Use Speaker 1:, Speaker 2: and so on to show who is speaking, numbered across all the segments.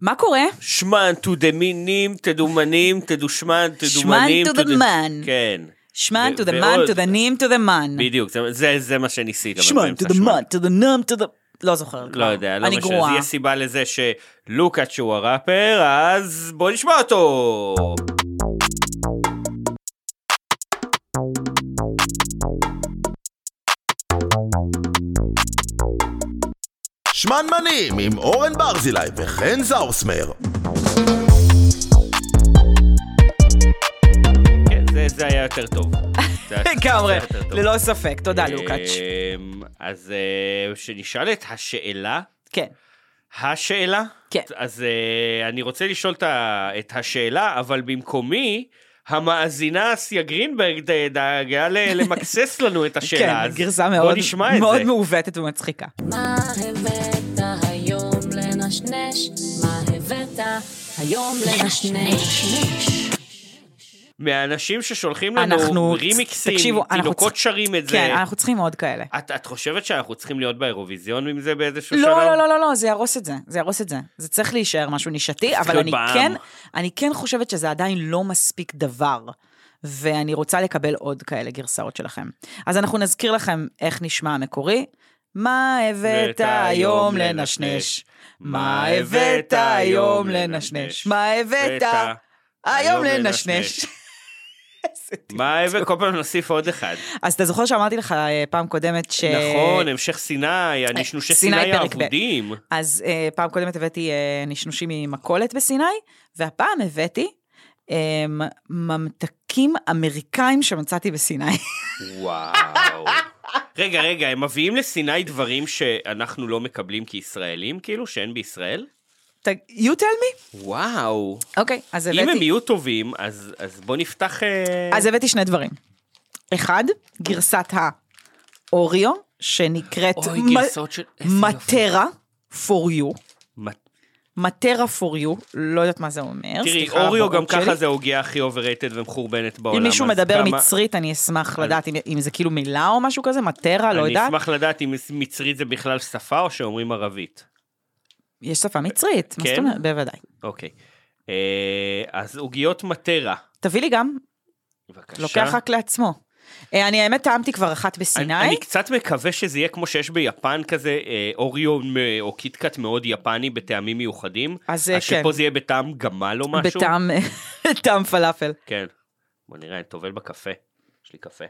Speaker 1: מה קורה?
Speaker 2: שמן to the מינים, תדומנים, תדושמן, תדומנים.
Speaker 1: שמן to the
Speaker 2: תדוש-
Speaker 1: man.
Speaker 2: כן.
Speaker 1: שמן
Speaker 2: ו-
Speaker 1: to the man,
Speaker 2: ועוד.
Speaker 1: to the נים, to the man.
Speaker 2: בדיוק, זה- זה- זה מה שניסית. אבל
Speaker 1: שמן
Speaker 2: באמצע
Speaker 1: to the man, to the num, to the... לא זוכרת.
Speaker 2: לא יודע, לא
Speaker 1: אני
Speaker 2: משנה, זה
Speaker 1: גרועה.
Speaker 2: יהיה סיבה לזה שלוקאץ' הוא הראפר, אז בוא נשמע אותו.
Speaker 3: שמנמנים עם אורן ברזילי וחן זאוסמר.
Speaker 2: כן, זה- זה היה יותר טוב. זה היה-
Speaker 1: לגמרי,
Speaker 2: זה היה יותר טוב. אה,
Speaker 1: ללא ספק, תודה לוקאץ'.
Speaker 2: אמ, אז אה, שנשאל את השאלה,
Speaker 1: כן.
Speaker 2: השאלה?
Speaker 1: כן.
Speaker 2: אז אה, אני רוצה לשאול את ה- את השאלה, אבל במקומי, המאזינה אסיה גרינברג ד- דאגה ל- למקסס לנו את השאלה.
Speaker 1: כן,
Speaker 2: אז
Speaker 1: גרסה מאוד,
Speaker 2: בוא נשמע את
Speaker 1: מאוד
Speaker 2: זה.
Speaker 1: מעוותת ומצחיקה.
Speaker 4: מה הבאת היום לנשנש? מה הבאת היום לנשנש?
Speaker 2: מהאנשים ששולחים לנו
Speaker 1: אנחנו-
Speaker 2: רימיקסים,
Speaker 1: תקשיבו, אנחנו
Speaker 2: תינוקות
Speaker 1: צ-
Speaker 2: שרים את זה.
Speaker 1: כן, אנחנו צריכים עוד כאלה.
Speaker 2: את, את חושבת שאנחנו צריכים להיות באירוויזיון עם זה באיזשהו
Speaker 1: לא,
Speaker 2: שלב?
Speaker 1: לא, לא, לא, לא, זה יהרוס את זה, זה יהרוס את זה. זה צריך להישאר משהו נישתי, אבל
Speaker 2: להיות
Speaker 1: אני
Speaker 2: בעם.
Speaker 1: כן, אני כן חושבת שזה עדיין לא מספיק דבר, ואני רוצה לקבל עוד כאלה גרסאות שלכם. אז אנחנו נזכיר לכם איך נשמע המקורי. מה הבאת היום לנשנש? מה הבאת היום לנשנש? מה הבאת היום לנשנש? איזה טיפ.
Speaker 2: מה הבאת? כל פעם נוסיף עוד אחד.
Speaker 1: אז אתה זוכר שאמרתי לך אה, פעם קודמת ש...
Speaker 2: נכון, המשך סיני, הנשנושי
Speaker 1: סיני
Speaker 2: סיני
Speaker 1: פרק ב'.
Speaker 2: האבודים.
Speaker 1: אז אה, פעם קודמת הבאתי אה, נשנושים ממכולת בסיני, והפעם הבאתי אה, ממתקים אמריקאים שמצאתי בסיני.
Speaker 2: וואו. רגע, רגע, הם מביאים לסיני דברים שאנחנו לא מקבלים כישראלים, כאילו, שאין בישראל?
Speaker 1: ת- you tell me?
Speaker 2: וואו.
Speaker 1: אוקיי, אז
Speaker 2: אם הם
Speaker 1: הבאתי,
Speaker 2: יהיו טובים, אז אז בוא נפתח... אה,
Speaker 1: אז הבאתי שני דברים. אחד, גרסת האוריו, שנקראת
Speaker 2: אוי,
Speaker 1: מ-
Speaker 2: גרסאות של... איזה יופי.
Speaker 1: מטרה for you.
Speaker 2: מט-
Speaker 1: מטרה for you, לא יודעת מה זה אומר.
Speaker 2: תראי,
Speaker 1: סליחה על
Speaker 2: אוריו גם
Speaker 1: הבורות שלי.
Speaker 2: ככה זה העוגיה הכי אובררייטד ומחורבנת בעולם.
Speaker 1: אם מישהו
Speaker 2: אז
Speaker 1: מדבר
Speaker 2: כמה-
Speaker 1: מצרית, אני אשמח לדעת אם- אם זה כאילו מילה או משהו כזה, מטרה, לא יודעת.
Speaker 2: אני אשמח לדעת אם מצרית זה בכלל שפה או שאומרים ערבית.
Speaker 1: יש שפה מצרית, מה
Speaker 2: כן?
Speaker 1: זאת אומרת? בוודאי.
Speaker 2: אוקיי. אה, אז עוגיות מטרה.
Speaker 1: תביא לי גם,
Speaker 2: בבקשה.
Speaker 1: לוקח רק לעצמו. אה, אני האמת טעמתי כבר אחת
Speaker 2: אני,
Speaker 1: בסיני,
Speaker 2: אני קצת מקווה שזה יהיה כמו שיש ביפן כזה, אה, אוריו מ- או קיטקאט מאוד יפני בטעמים מיוחדים.
Speaker 1: אז, אה, כן.
Speaker 2: שפה זה יהיה בטעם גמל או משהו.
Speaker 1: בטעם בטעם פלאפל.
Speaker 2: כן. בוא נראה, אני טובל בקפה. יש לי קפה.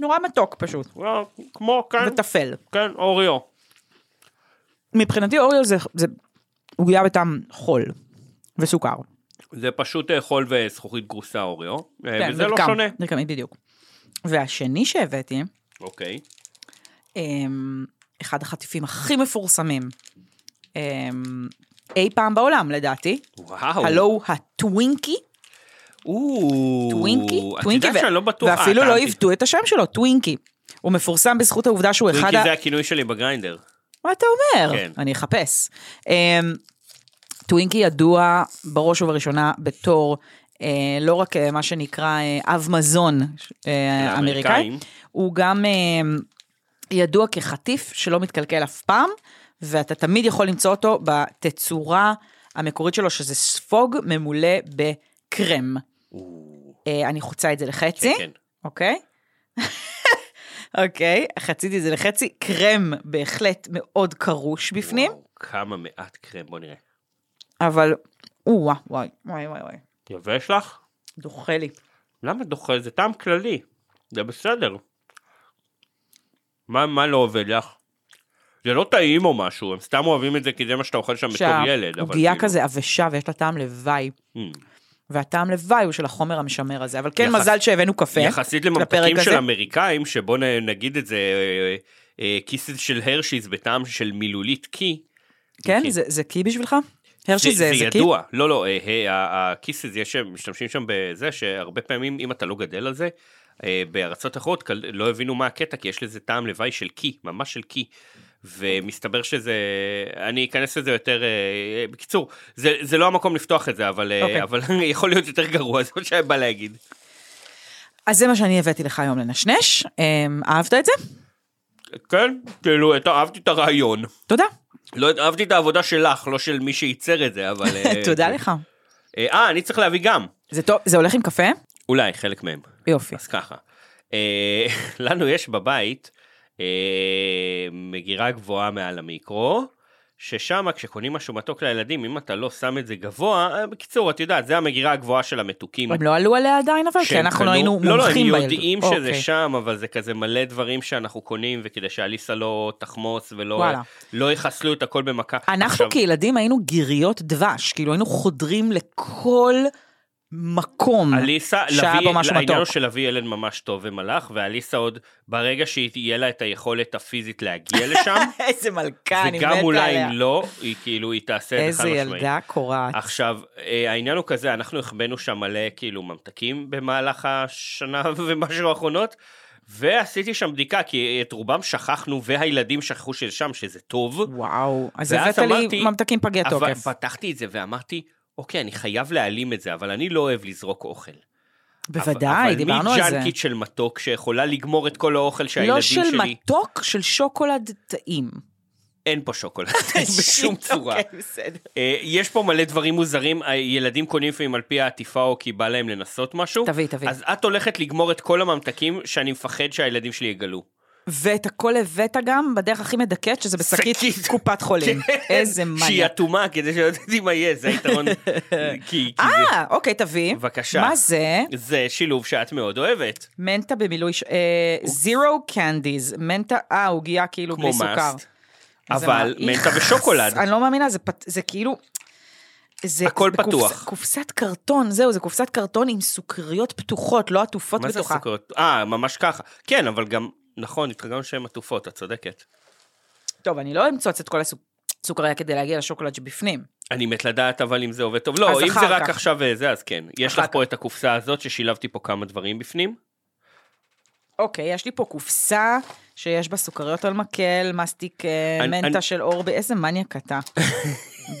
Speaker 1: נורא מתוק פשוט,
Speaker 2: לא, כמו כאן,
Speaker 1: וטפל.
Speaker 2: כן, אוריו.
Speaker 1: מבחינתי אוריו זה זה עוגיה בטעם חול וסוכר.
Speaker 2: אה, זה פשוט אה, חול וזכוכית גרוסה אוריו. אה,
Speaker 1: כן,
Speaker 2: וזה לא
Speaker 1: מרקם,
Speaker 2: שונה.
Speaker 1: מרקמית בדיוק. והשני שהבאתי,
Speaker 2: אוקיי.
Speaker 1: אמ, אחד החטיפים הכי מפורסמים אמ, אי פעם בעולם לדעתי,
Speaker 2: וואו.
Speaker 1: הלו הוא הטווינקי.
Speaker 2: או,
Speaker 1: טווינקי?
Speaker 2: את
Speaker 1: טווינקי,
Speaker 2: יודעת שאני לא בטוח.
Speaker 1: ואפילו
Speaker 2: אה,
Speaker 1: לא
Speaker 2: טעמתי.
Speaker 1: עיוותו את השם שלו, טווינקי. הוא מפורסם בזכות העובדה שהוא אחד
Speaker 2: טווינקי
Speaker 1: ה... אה,
Speaker 2: זה הכינוי שלי בגריינדר.
Speaker 1: מה אתה אומר?
Speaker 2: כן.
Speaker 1: אני אחפש. אמ, טווינקי ידוע בראש ובראשונה בתור אה, לא רק אה, מה שנקרא אה, אב מזון אה, אמריקאי,
Speaker 2: האמריקאים.
Speaker 1: הוא גם אה, ידוע כחטיף שלא מתקלקל אף פעם, ואתה תמיד יכול למצוא אותו בתצורה המקורית שלו, שזה ספוג ממולא בקרם. אה, אני חוצה את זה לחצי,
Speaker 2: כן, כן.
Speaker 1: אוקיי? אוקיי, חציתי את זה לחצי, קרם בהחלט מאוד קרוש בפנים,
Speaker 2: וואו, כמה מעט קרם, בוא נראה.
Speaker 1: אבל או וואי וואי וואי וואי וואי,
Speaker 2: יבש לך?
Speaker 1: דוחה לי.
Speaker 2: למה דוחה? זה טעם כללי. זה בסדר. מה, מה לא עובד לך? זה לא טעים או משהו, הם סתם אוהבים את זה כי זה מה שאתה אוכל שם בתור ילד. אבל
Speaker 1: שהעוגיה
Speaker 2: כאילו-
Speaker 1: כזה עבשה ויש לה טעם לוואי,
Speaker 2: Mm.
Speaker 1: והטעם לוואי הוא של החומר המשמר הזה, אבל כן
Speaker 2: יחס-
Speaker 1: מזל שהבאנו קפה.
Speaker 2: כאילו, יחסית לממתקים
Speaker 1: לפרק הזה.
Speaker 2: של אמריקאים, שבוא נ- נגיד את זה, אה, אה, כיס של הרשיז בטעם של מילולית קי.
Speaker 1: כן,
Speaker 2: אוקיי.
Speaker 1: זה- זה קי בשבילך? הרשי זה זה
Speaker 2: זה
Speaker 1: קי?
Speaker 2: ידוע. לא, לא, אה, אה, ה- הקיסס, יש, שם- משתמשים שם בזה שהרבה פעמים, אם אתה לא גדל על זה, אה, בארצות אחרות כל- לא הבינו מה הקטע, כי יש לזה טעם לוואי של קי, ממש של קי. ומסתבר שזה, אני אכנס לזה יותר, אה, בקיצור, זה, זה לא המקום לפתוח את זה, אבל, אה,
Speaker 1: אוקיי.
Speaker 2: אבל יכול להיות יותר גרוע, זה מה שהיה בא להגיד.
Speaker 1: אז זה מה שאני הבאתי לך היום
Speaker 2: אה,
Speaker 1: לנשנש, אמ, אהבת את זה?
Speaker 2: כן, כאילו, את- אהבתי את הרעיון.
Speaker 1: תודה.
Speaker 2: לא יודע, אהבתי את העבודה שלך, לא של מי שייצר את זה, אבל... אה,
Speaker 1: תודה לך.
Speaker 2: אה, אה, אני צריך להביא גם.
Speaker 1: זה טוב, זה הולך עם קפה?
Speaker 2: אולי, חלק מהם.
Speaker 1: יופי.
Speaker 2: אז ככה. אה, לנו יש בבית אה, מגירה גבוהה מעל המיקרו, ששם כשקונים משהו מתוק לילדים, אם אתה לא שם את זה גבוה, אה, בקיצור, את יודעת, זה המגירה הגבוהה של המתוקים.
Speaker 1: הם לא עלו עליה עדיין, אבל כי
Speaker 2: שהם
Speaker 1: אנחנו
Speaker 2: קנו-
Speaker 1: לא היינו
Speaker 2: לא,
Speaker 1: מומחים
Speaker 2: לא,
Speaker 1: בילדות.
Speaker 2: הם יודעים שזה
Speaker 1: אוקיי.
Speaker 2: שם, אבל זה כזה מלא דברים שאנחנו קונים, וכדי שאליסה לא תחמוץ ולא
Speaker 1: וואלה.
Speaker 2: לא יחסלו את הכל במכה.
Speaker 1: אנחנו כאילו,
Speaker 2: עכשיו,
Speaker 1: כילדים היינו גיריות דבש, כאילו היינו חודרים לכל מקום
Speaker 2: אליסה,
Speaker 1: שהיה
Speaker 2: לביא-
Speaker 1: בו משהו
Speaker 2: העניין הוא
Speaker 1: מתוק.
Speaker 2: שלביא ילד ממש טוב ומלאך, ואליסה עוד, ברגע שיהיה לה את היכולת הפיזית להגיע לשם,
Speaker 1: איזה מלכה, אני מתה עליה.
Speaker 2: וגם אולי אם לא, היא כאילו, היא תעשה את זה חד
Speaker 1: איזה
Speaker 2: משמעית.
Speaker 1: ילדה קורעת.
Speaker 2: עכשיו, אה, העניין הוא כזה, אנחנו החבאנו שם מלא כאילו ממתקים במהלך השנה ומשהו האחרונות, ועשיתי שם בדיקה, כי את רובם שכחנו, והילדים שכחו שזה שם, שזה טוב.
Speaker 1: וואו, אז
Speaker 2: ואז
Speaker 1: הבאת לי
Speaker 2: אמרתי-
Speaker 1: ממתקים פגי
Speaker 2: אבל
Speaker 1: תוקף.
Speaker 2: פתחתי את זה ואמרתי, אוקיי, אני חייב להעלים את זה, אבל אני לא אוהב לזרוק אוכל.
Speaker 1: בוודאי, דיברנו על
Speaker 2: אבל מי
Speaker 1: זה.
Speaker 2: ג'אנקית של מתוק שיכולה לגמור את כל האוכל שהילדים
Speaker 1: לא של
Speaker 2: שלי...
Speaker 1: מתוק, של שוקולד טעים.
Speaker 2: אין פה שוקולד בשום צורה.
Speaker 1: אוקיי, בסדר.
Speaker 2: אה, יש פה מלא דברים מוזרים, אה, ילדים קונים לפעמים על פי העטיפה או כי בא להם לנסות משהו.
Speaker 1: תביא, תביא.
Speaker 2: אז את הולכת לגמור את כל הממתקים שאני מפחד שהילדים שלי יגלו.
Speaker 1: ואת הכל הבאת גם בדרך הכי מדכאת, שזה בשקית
Speaker 2: שקית. כן,
Speaker 1: קופת חולים. איזה
Speaker 2: שהיא
Speaker 1: מניאק.
Speaker 2: אטומה כדי שלא תדעי מה יהיה, זה היתרון. כי- כי זה-
Speaker 1: אה, אוקיי, תביא.
Speaker 2: בבקשה.
Speaker 1: מה זה?
Speaker 2: זה שילוב שאת מאוד אוהבת.
Speaker 1: מנטה במילוי... ש- אה, זירו קנדיז. מנטה, אה, עוגיה כאילו
Speaker 2: כמו
Speaker 1: בלי סוכר.
Speaker 2: מאסט.
Speaker 1: אז זה
Speaker 2: אבל
Speaker 1: מה-
Speaker 2: מנטה
Speaker 1: איך,
Speaker 2: בשוקולד.
Speaker 1: אני לא מאמינה, זה פת- זה כאילו... זה
Speaker 2: הכל
Speaker 1: זה קופס-
Speaker 2: פתוח.
Speaker 1: קופסת קרטון, זהו, זה קופסת קרטון עם סוכריות פתוחות, לא עטופות
Speaker 2: מה זה
Speaker 1: בתוכה.
Speaker 2: הסוכרת? אה, ממש ככה. כן, אבל גם, נכון, התרגלנו שהן עטופות, את צודקת.
Speaker 1: טוב, אני לא אמצוץ את כל הסוכריה כדי להגיע לשוקולד שבפנים.
Speaker 2: אני מת לדעת אבל אם זה עובד טוב.
Speaker 1: אז
Speaker 2: לא, אם
Speaker 1: אחר
Speaker 2: זה רק
Speaker 1: כך.
Speaker 2: עכשיו אה, זה, אז כן. יש
Speaker 1: אחר
Speaker 2: לך פה את הקופסה הזאת ששילבתי פה כמה דברים בפנים.
Speaker 1: אוקיי, יש לי פה קופסה שיש בה סוכריות על מקל, מסטיק אה,
Speaker 2: אני-
Speaker 1: מנטה
Speaker 2: אני-
Speaker 1: של אורבי, איזה מניאק אתה.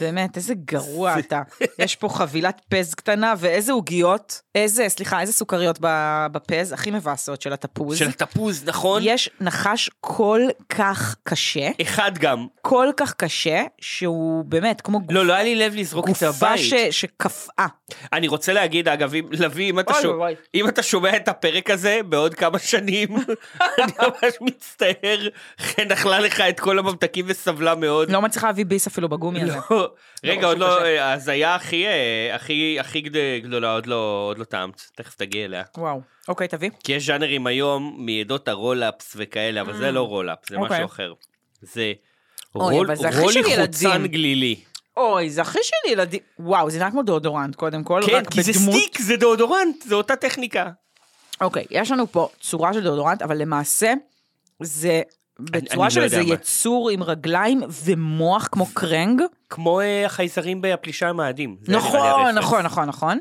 Speaker 1: באמת, איזה גרוע אתה. יש פה חבילת פז קטנה, ואיזה עוגיות, איזה, סליחה, איזה סוכריות ב- בפז, הכי מבאסות של התפוז.
Speaker 2: של התפוז, נכון?
Speaker 1: יש נחש כל כך קשה,
Speaker 2: אחד גם.
Speaker 1: כל כך קשה, שהוא באמת כמו
Speaker 2: לא, לא היה לי לב לזרוק את זה
Speaker 1: גופה
Speaker 2: הבית.
Speaker 1: ש... שקפאה.
Speaker 2: אני רוצה להגיד, אגב, אם, לביא, אם אתה,
Speaker 1: אוי,
Speaker 2: שומע,
Speaker 1: אוי.
Speaker 2: אם אתה שומע את הפרק הזה בעוד כמה שנים, אני ממש מצטער, חן אכלה לך את כל הממתקים וסבלה מאוד.
Speaker 1: לא מצליחה להביא ביס אפילו בגומי הזה.
Speaker 2: לא. רגע, עוד
Speaker 1: לא,
Speaker 2: לא,
Speaker 1: פשוט
Speaker 2: אה, ההזיה הכי, אה, הכי, הכי גד- גדולה, עוד לא, עוד לא טעמת, תכף תגיע אליה.
Speaker 1: וואו. אוקיי, תביא.
Speaker 2: כי יש ז'אנרים היום מעדות הרולאפס וכאלה, אבל זה לא רולאפס, זה
Speaker 1: אוקיי.
Speaker 2: משהו אחר. זה
Speaker 1: אוי,
Speaker 2: רול
Speaker 1: אבל זה הכי
Speaker 2: רול
Speaker 1: של
Speaker 2: יחוצן
Speaker 1: ילדים. לא,
Speaker 2: גלילי.
Speaker 1: אוי, זה הכי של ילדים. וואו, זה נראה כמו דאודורנט, קודם כל.
Speaker 2: כן,
Speaker 1: רק
Speaker 2: כי זה
Speaker 1: לא, בדמות-
Speaker 2: סטיק, זה דאודורנט, זה אותה טכניקה.
Speaker 1: אוקיי, יש לנו פה צורה של דאודורנט, אבל למעשה זה בצורה
Speaker 2: אני
Speaker 1: של
Speaker 2: לא
Speaker 1: איזה
Speaker 2: יודע מה.
Speaker 1: יצור עם רגליים ומוח כמו קרנג.
Speaker 2: כמו אה, החייזרים בפלישה עם האדים. זה נראה לי
Speaker 1: נכון,
Speaker 2: הרפרנס.
Speaker 1: נכון, נכון, נכון.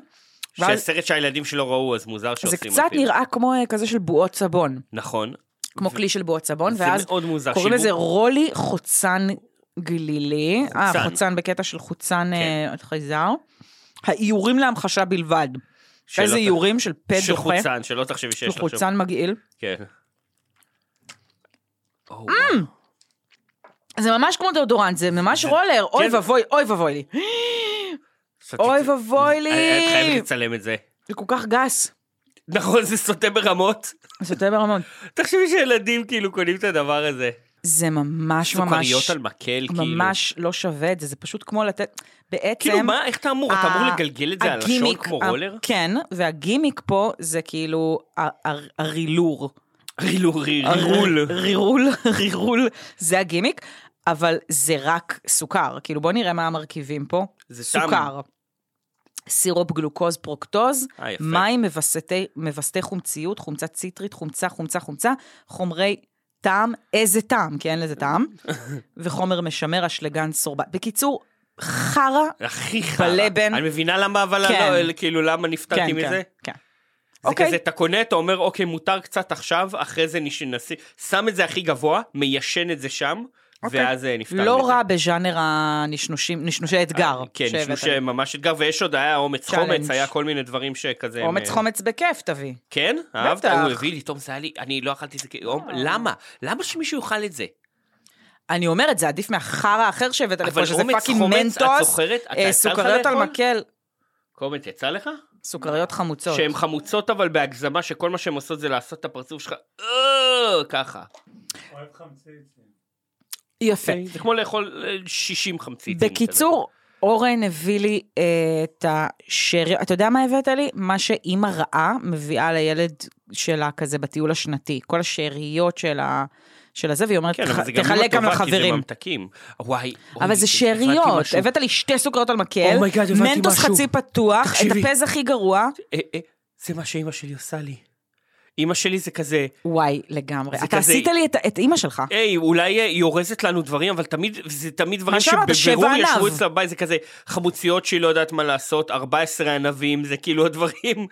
Speaker 1: ואז
Speaker 2: שהסרט שהילדים שלו ראו, אז מוזר
Speaker 1: זה
Speaker 2: שעושים
Speaker 1: קצת
Speaker 2: מפיל.
Speaker 1: נראה כמו אה, כזה של בועות סבון,
Speaker 2: נכון.
Speaker 1: כמו כלי של בועות סבון,
Speaker 2: זה
Speaker 1: נכון, ואז
Speaker 2: מאוד מוזר.
Speaker 1: קוראים לזה
Speaker 2: שיווק-
Speaker 1: רולי חוצן גלילי. אה,
Speaker 2: חוצן. כן.
Speaker 1: חוצן בקטע של חוצן אה, חייזר. האיורים להמחשה בלבד.
Speaker 2: שלא
Speaker 1: איזה
Speaker 2: ת-
Speaker 1: איורים של פה
Speaker 2: של
Speaker 1: דוחה.
Speaker 2: חוצן, שלא תחשבי שיש
Speaker 1: של
Speaker 2: לך שם.
Speaker 1: חוצן מגעיל.
Speaker 2: כן. או,
Speaker 1: אה, זה ממש כמו דאודורנט, זה ממש רולר, אוי
Speaker 2: כן.
Speaker 1: ואבוי, אוי ואבוי לי.
Speaker 2: וואו.
Speaker 1: אוי
Speaker 2: סטי-
Speaker 1: ואבוי לי.
Speaker 2: אני- אה, את חייבת לצלם את זה.
Speaker 1: זה כל כך גס.
Speaker 2: נכון, זה סוטה ברמות.
Speaker 1: זה יותר ברמון.
Speaker 2: תחשבי שילדים כאילו קונים את הדבר הזה.
Speaker 1: זה ממש ממש,
Speaker 2: סוכריות על מקל, כאילו.
Speaker 1: ממש לא שווה את זה, זה פשוט כמו לתת, בעצם...
Speaker 2: כאילו, מה, איך אתה אמור? אתה אמור
Speaker 1: ה-
Speaker 2: לגלגל את זה על לשון
Speaker 1: הגימיק,
Speaker 2: כמו
Speaker 1: ה-
Speaker 2: רולר?
Speaker 1: כן, והגימיק פה זה כאילו ה- ה- הרילור.
Speaker 2: רילור, רירול.
Speaker 1: הר- רירול, רירול, זה הגימיק, אבל זה רק סוכר. כאילו, בוא נראה מה המרכיבים פה.
Speaker 2: זה טעם.
Speaker 1: סוכר. סירופ גלוקוז פרוקטוז,
Speaker 2: אה, יפה.
Speaker 1: מים מווסתי, מווסתי חומציות, חומצה ציטרית, חומצה, חומצה, חומצה, חומרי טעם, איזה טעם, כי אין לזה טעם, וחומר משמר, אשלגן, סורבה. בקיצור, חרא,
Speaker 2: הכי חרא.
Speaker 1: בלבן.
Speaker 2: אני מבינה למה, אבל
Speaker 1: כן.
Speaker 2: לא, כאילו, למה נפתעתי
Speaker 1: כן,
Speaker 2: מזה?
Speaker 1: כן, כן.
Speaker 2: זה
Speaker 1: אוקיי.
Speaker 2: כזה, אתה קונה, אתה אומר, אוקיי, מותר קצת עכשיו, אחרי זה נש- נשיא, שם את זה הכי גבוה, מיישן את זה שם,
Speaker 1: אוקיי.
Speaker 2: ואז אה, נפתח
Speaker 1: לא
Speaker 2: מזה.
Speaker 1: רע בז'אנר הנשנושים, נשנושי אתגר.
Speaker 2: כן,
Speaker 1: שהבאת
Speaker 2: נשמעו
Speaker 1: לי.
Speaker 2: שממש אתגר, ויש עוד, היה אומץ
Speaker 1: צ'אלנג'.
Speaker 2: חומץ, היה כל מיני דברים שכזה... הם,
Speaker 1: אומץ
Speaker 2: אה,
Speaker 1: חומץ בכיף תביא.
Speaker 2: כן? אהבת?
Speaker 1: בטח. אה.
Speaker 2: הוא הביא לי, טוב, זה היה לי, אני לא אכלתי את זה, כי- אום, למה? למה שמישהו יאכל את זה?
Speaker 1: אני אומרת, זה עדיף מהחרא האחר שהבאת
Speaker 2: אבל
Speaker 1: לפה, שזה
Speaker 2: אומץ,
Speaker 1: פאקינג
Speaker 2: חומץ, את
Speaker 1: מנטוס,
Speaker 2: זוכרת? אתה
Speaker 1: אה,
Speaker 2: יצא לך
Speaker 1: סוכריות על
Speaker 2: לאכול?
Speaker 1: מקל,
Speaker 2: קומץ, יצא לך?
Speaker 1: סוכריות חמוצות.
Speaker 2: שהן חמוצות אבל בהגזמה, שכל מה שהן עושות זה לעשות את הפרצוף שלך, "אה", ככה.
Speaker 5: אוהב חמציצים.
Speaker 1: יפה.
Speaker 2: כן, זה כמו לאכול אה, 60 חמציצים.
Speaker 1: בקיצור, אורן הביא לי אה, את השרי... אתה יודע מה הבאת לי? מה שאימא רעה מביאה לילד שלה כזה בטיול השנתי. כל השאריות של ה... של הזה, והיא אומרת,
Speaker 2: כן,
Speaker 1: "תח-
Speaker 2: אבל זה גם לא
Speaker 1: תחלק גם
Speaker 2: טובה, כי זה
Speaker 1: לחברים.
Speaker 2: ממתקים. וואי.
Speaker 1: אבל
Speaker 2: אוי,
Speaker 1: זה
Speaker 2: הבנתי
Speaker 1: שאריות,
Speaker 2: משהו.
Speaker 1: הבאת לי שתי סוכריות על מקל,
Speaker 2: Oh my God, הבנתי
Speaker 1: מנטוס
Speaker 2: משהו.
Speaker 1: חצי פתוח, את
Speaker 2: תקשיבי.
Speaker 1: הפז הכי גרוע.
Speaker 2: אה, אה, זה מה שאימא שלי עושה לי. אימא שלי זה כזה,
Speaker 1: וואי, לגמרי.
Speaker 2: זה
Speaker 1: אתה
Speaker 2: כזה-
Speaker 1: עשית לי את- את אימא שלך.
Speaker 2: היי, אולי אה, היא אורזת לנו דברים, אבל תמיד, זה תמיד דברים
Speaker 1: שאמרת,
Speaker 2: שבבירור
Speaker 1: שבע
Speaker 2: ישבו
Speaker 1: ענב.
Speaker 2: אצלה בבית, זה כזה חמוציות שהיא לא יודעת מה לעשות, 14 ענבים, זה כאילו הדברים.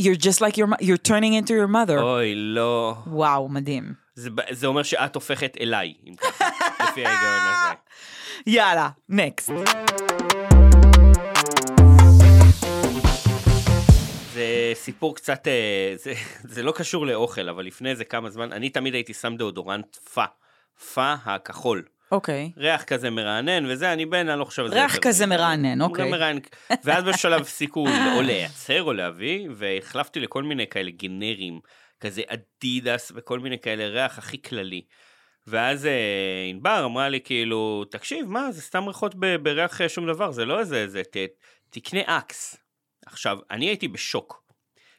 Speaker 1: You're just like your mo- you're turning into your mother.
Speaker 2: אוי, לא.
Speaker 1: Oh. וואו, מדהים.
Speaker 2: זה ב- זה אומר שאת הופכת אליי, אם ככה, לפי ההיגיון הזה.
Speaker 1: יאללה, נקסט.
Speaker 2: זה סיפור קצת, אה, זה, זה לא קשור לאוכל, אבל לפני איזה כמה זמן, אני תמיד הייתי שם דאודורנט פא, פא הכחול.
Speaker 1: אוקיי.
Speaker 2: ריח כזה מרענן וזה, אני בן, אני לא חושב על זה.
Speaker 1: ריח
Speaker 2: יותר
Speaker 1: כזה
Speaker 2: מדי.
Speaker 1: מרענן,
Speaker 2: הוא
Speaker 1: אוקיי.
Speaker 2: גם מרענן. ואז בשלב הפסיקו או לייצר או להביא, והחלפתי לכל מיני כאלה גנרים, כזה אדידס וכל מיני כאלה, ריח הכי כללי. ואז אה, ענבר אמרה לי כאילו, תקשיב, מה, זה סתם ריחות ב- בריח אה, שום דבר, זה לא איזה, זה, ת, תקנה אקס. עכשיו, אני הייתי בשוק.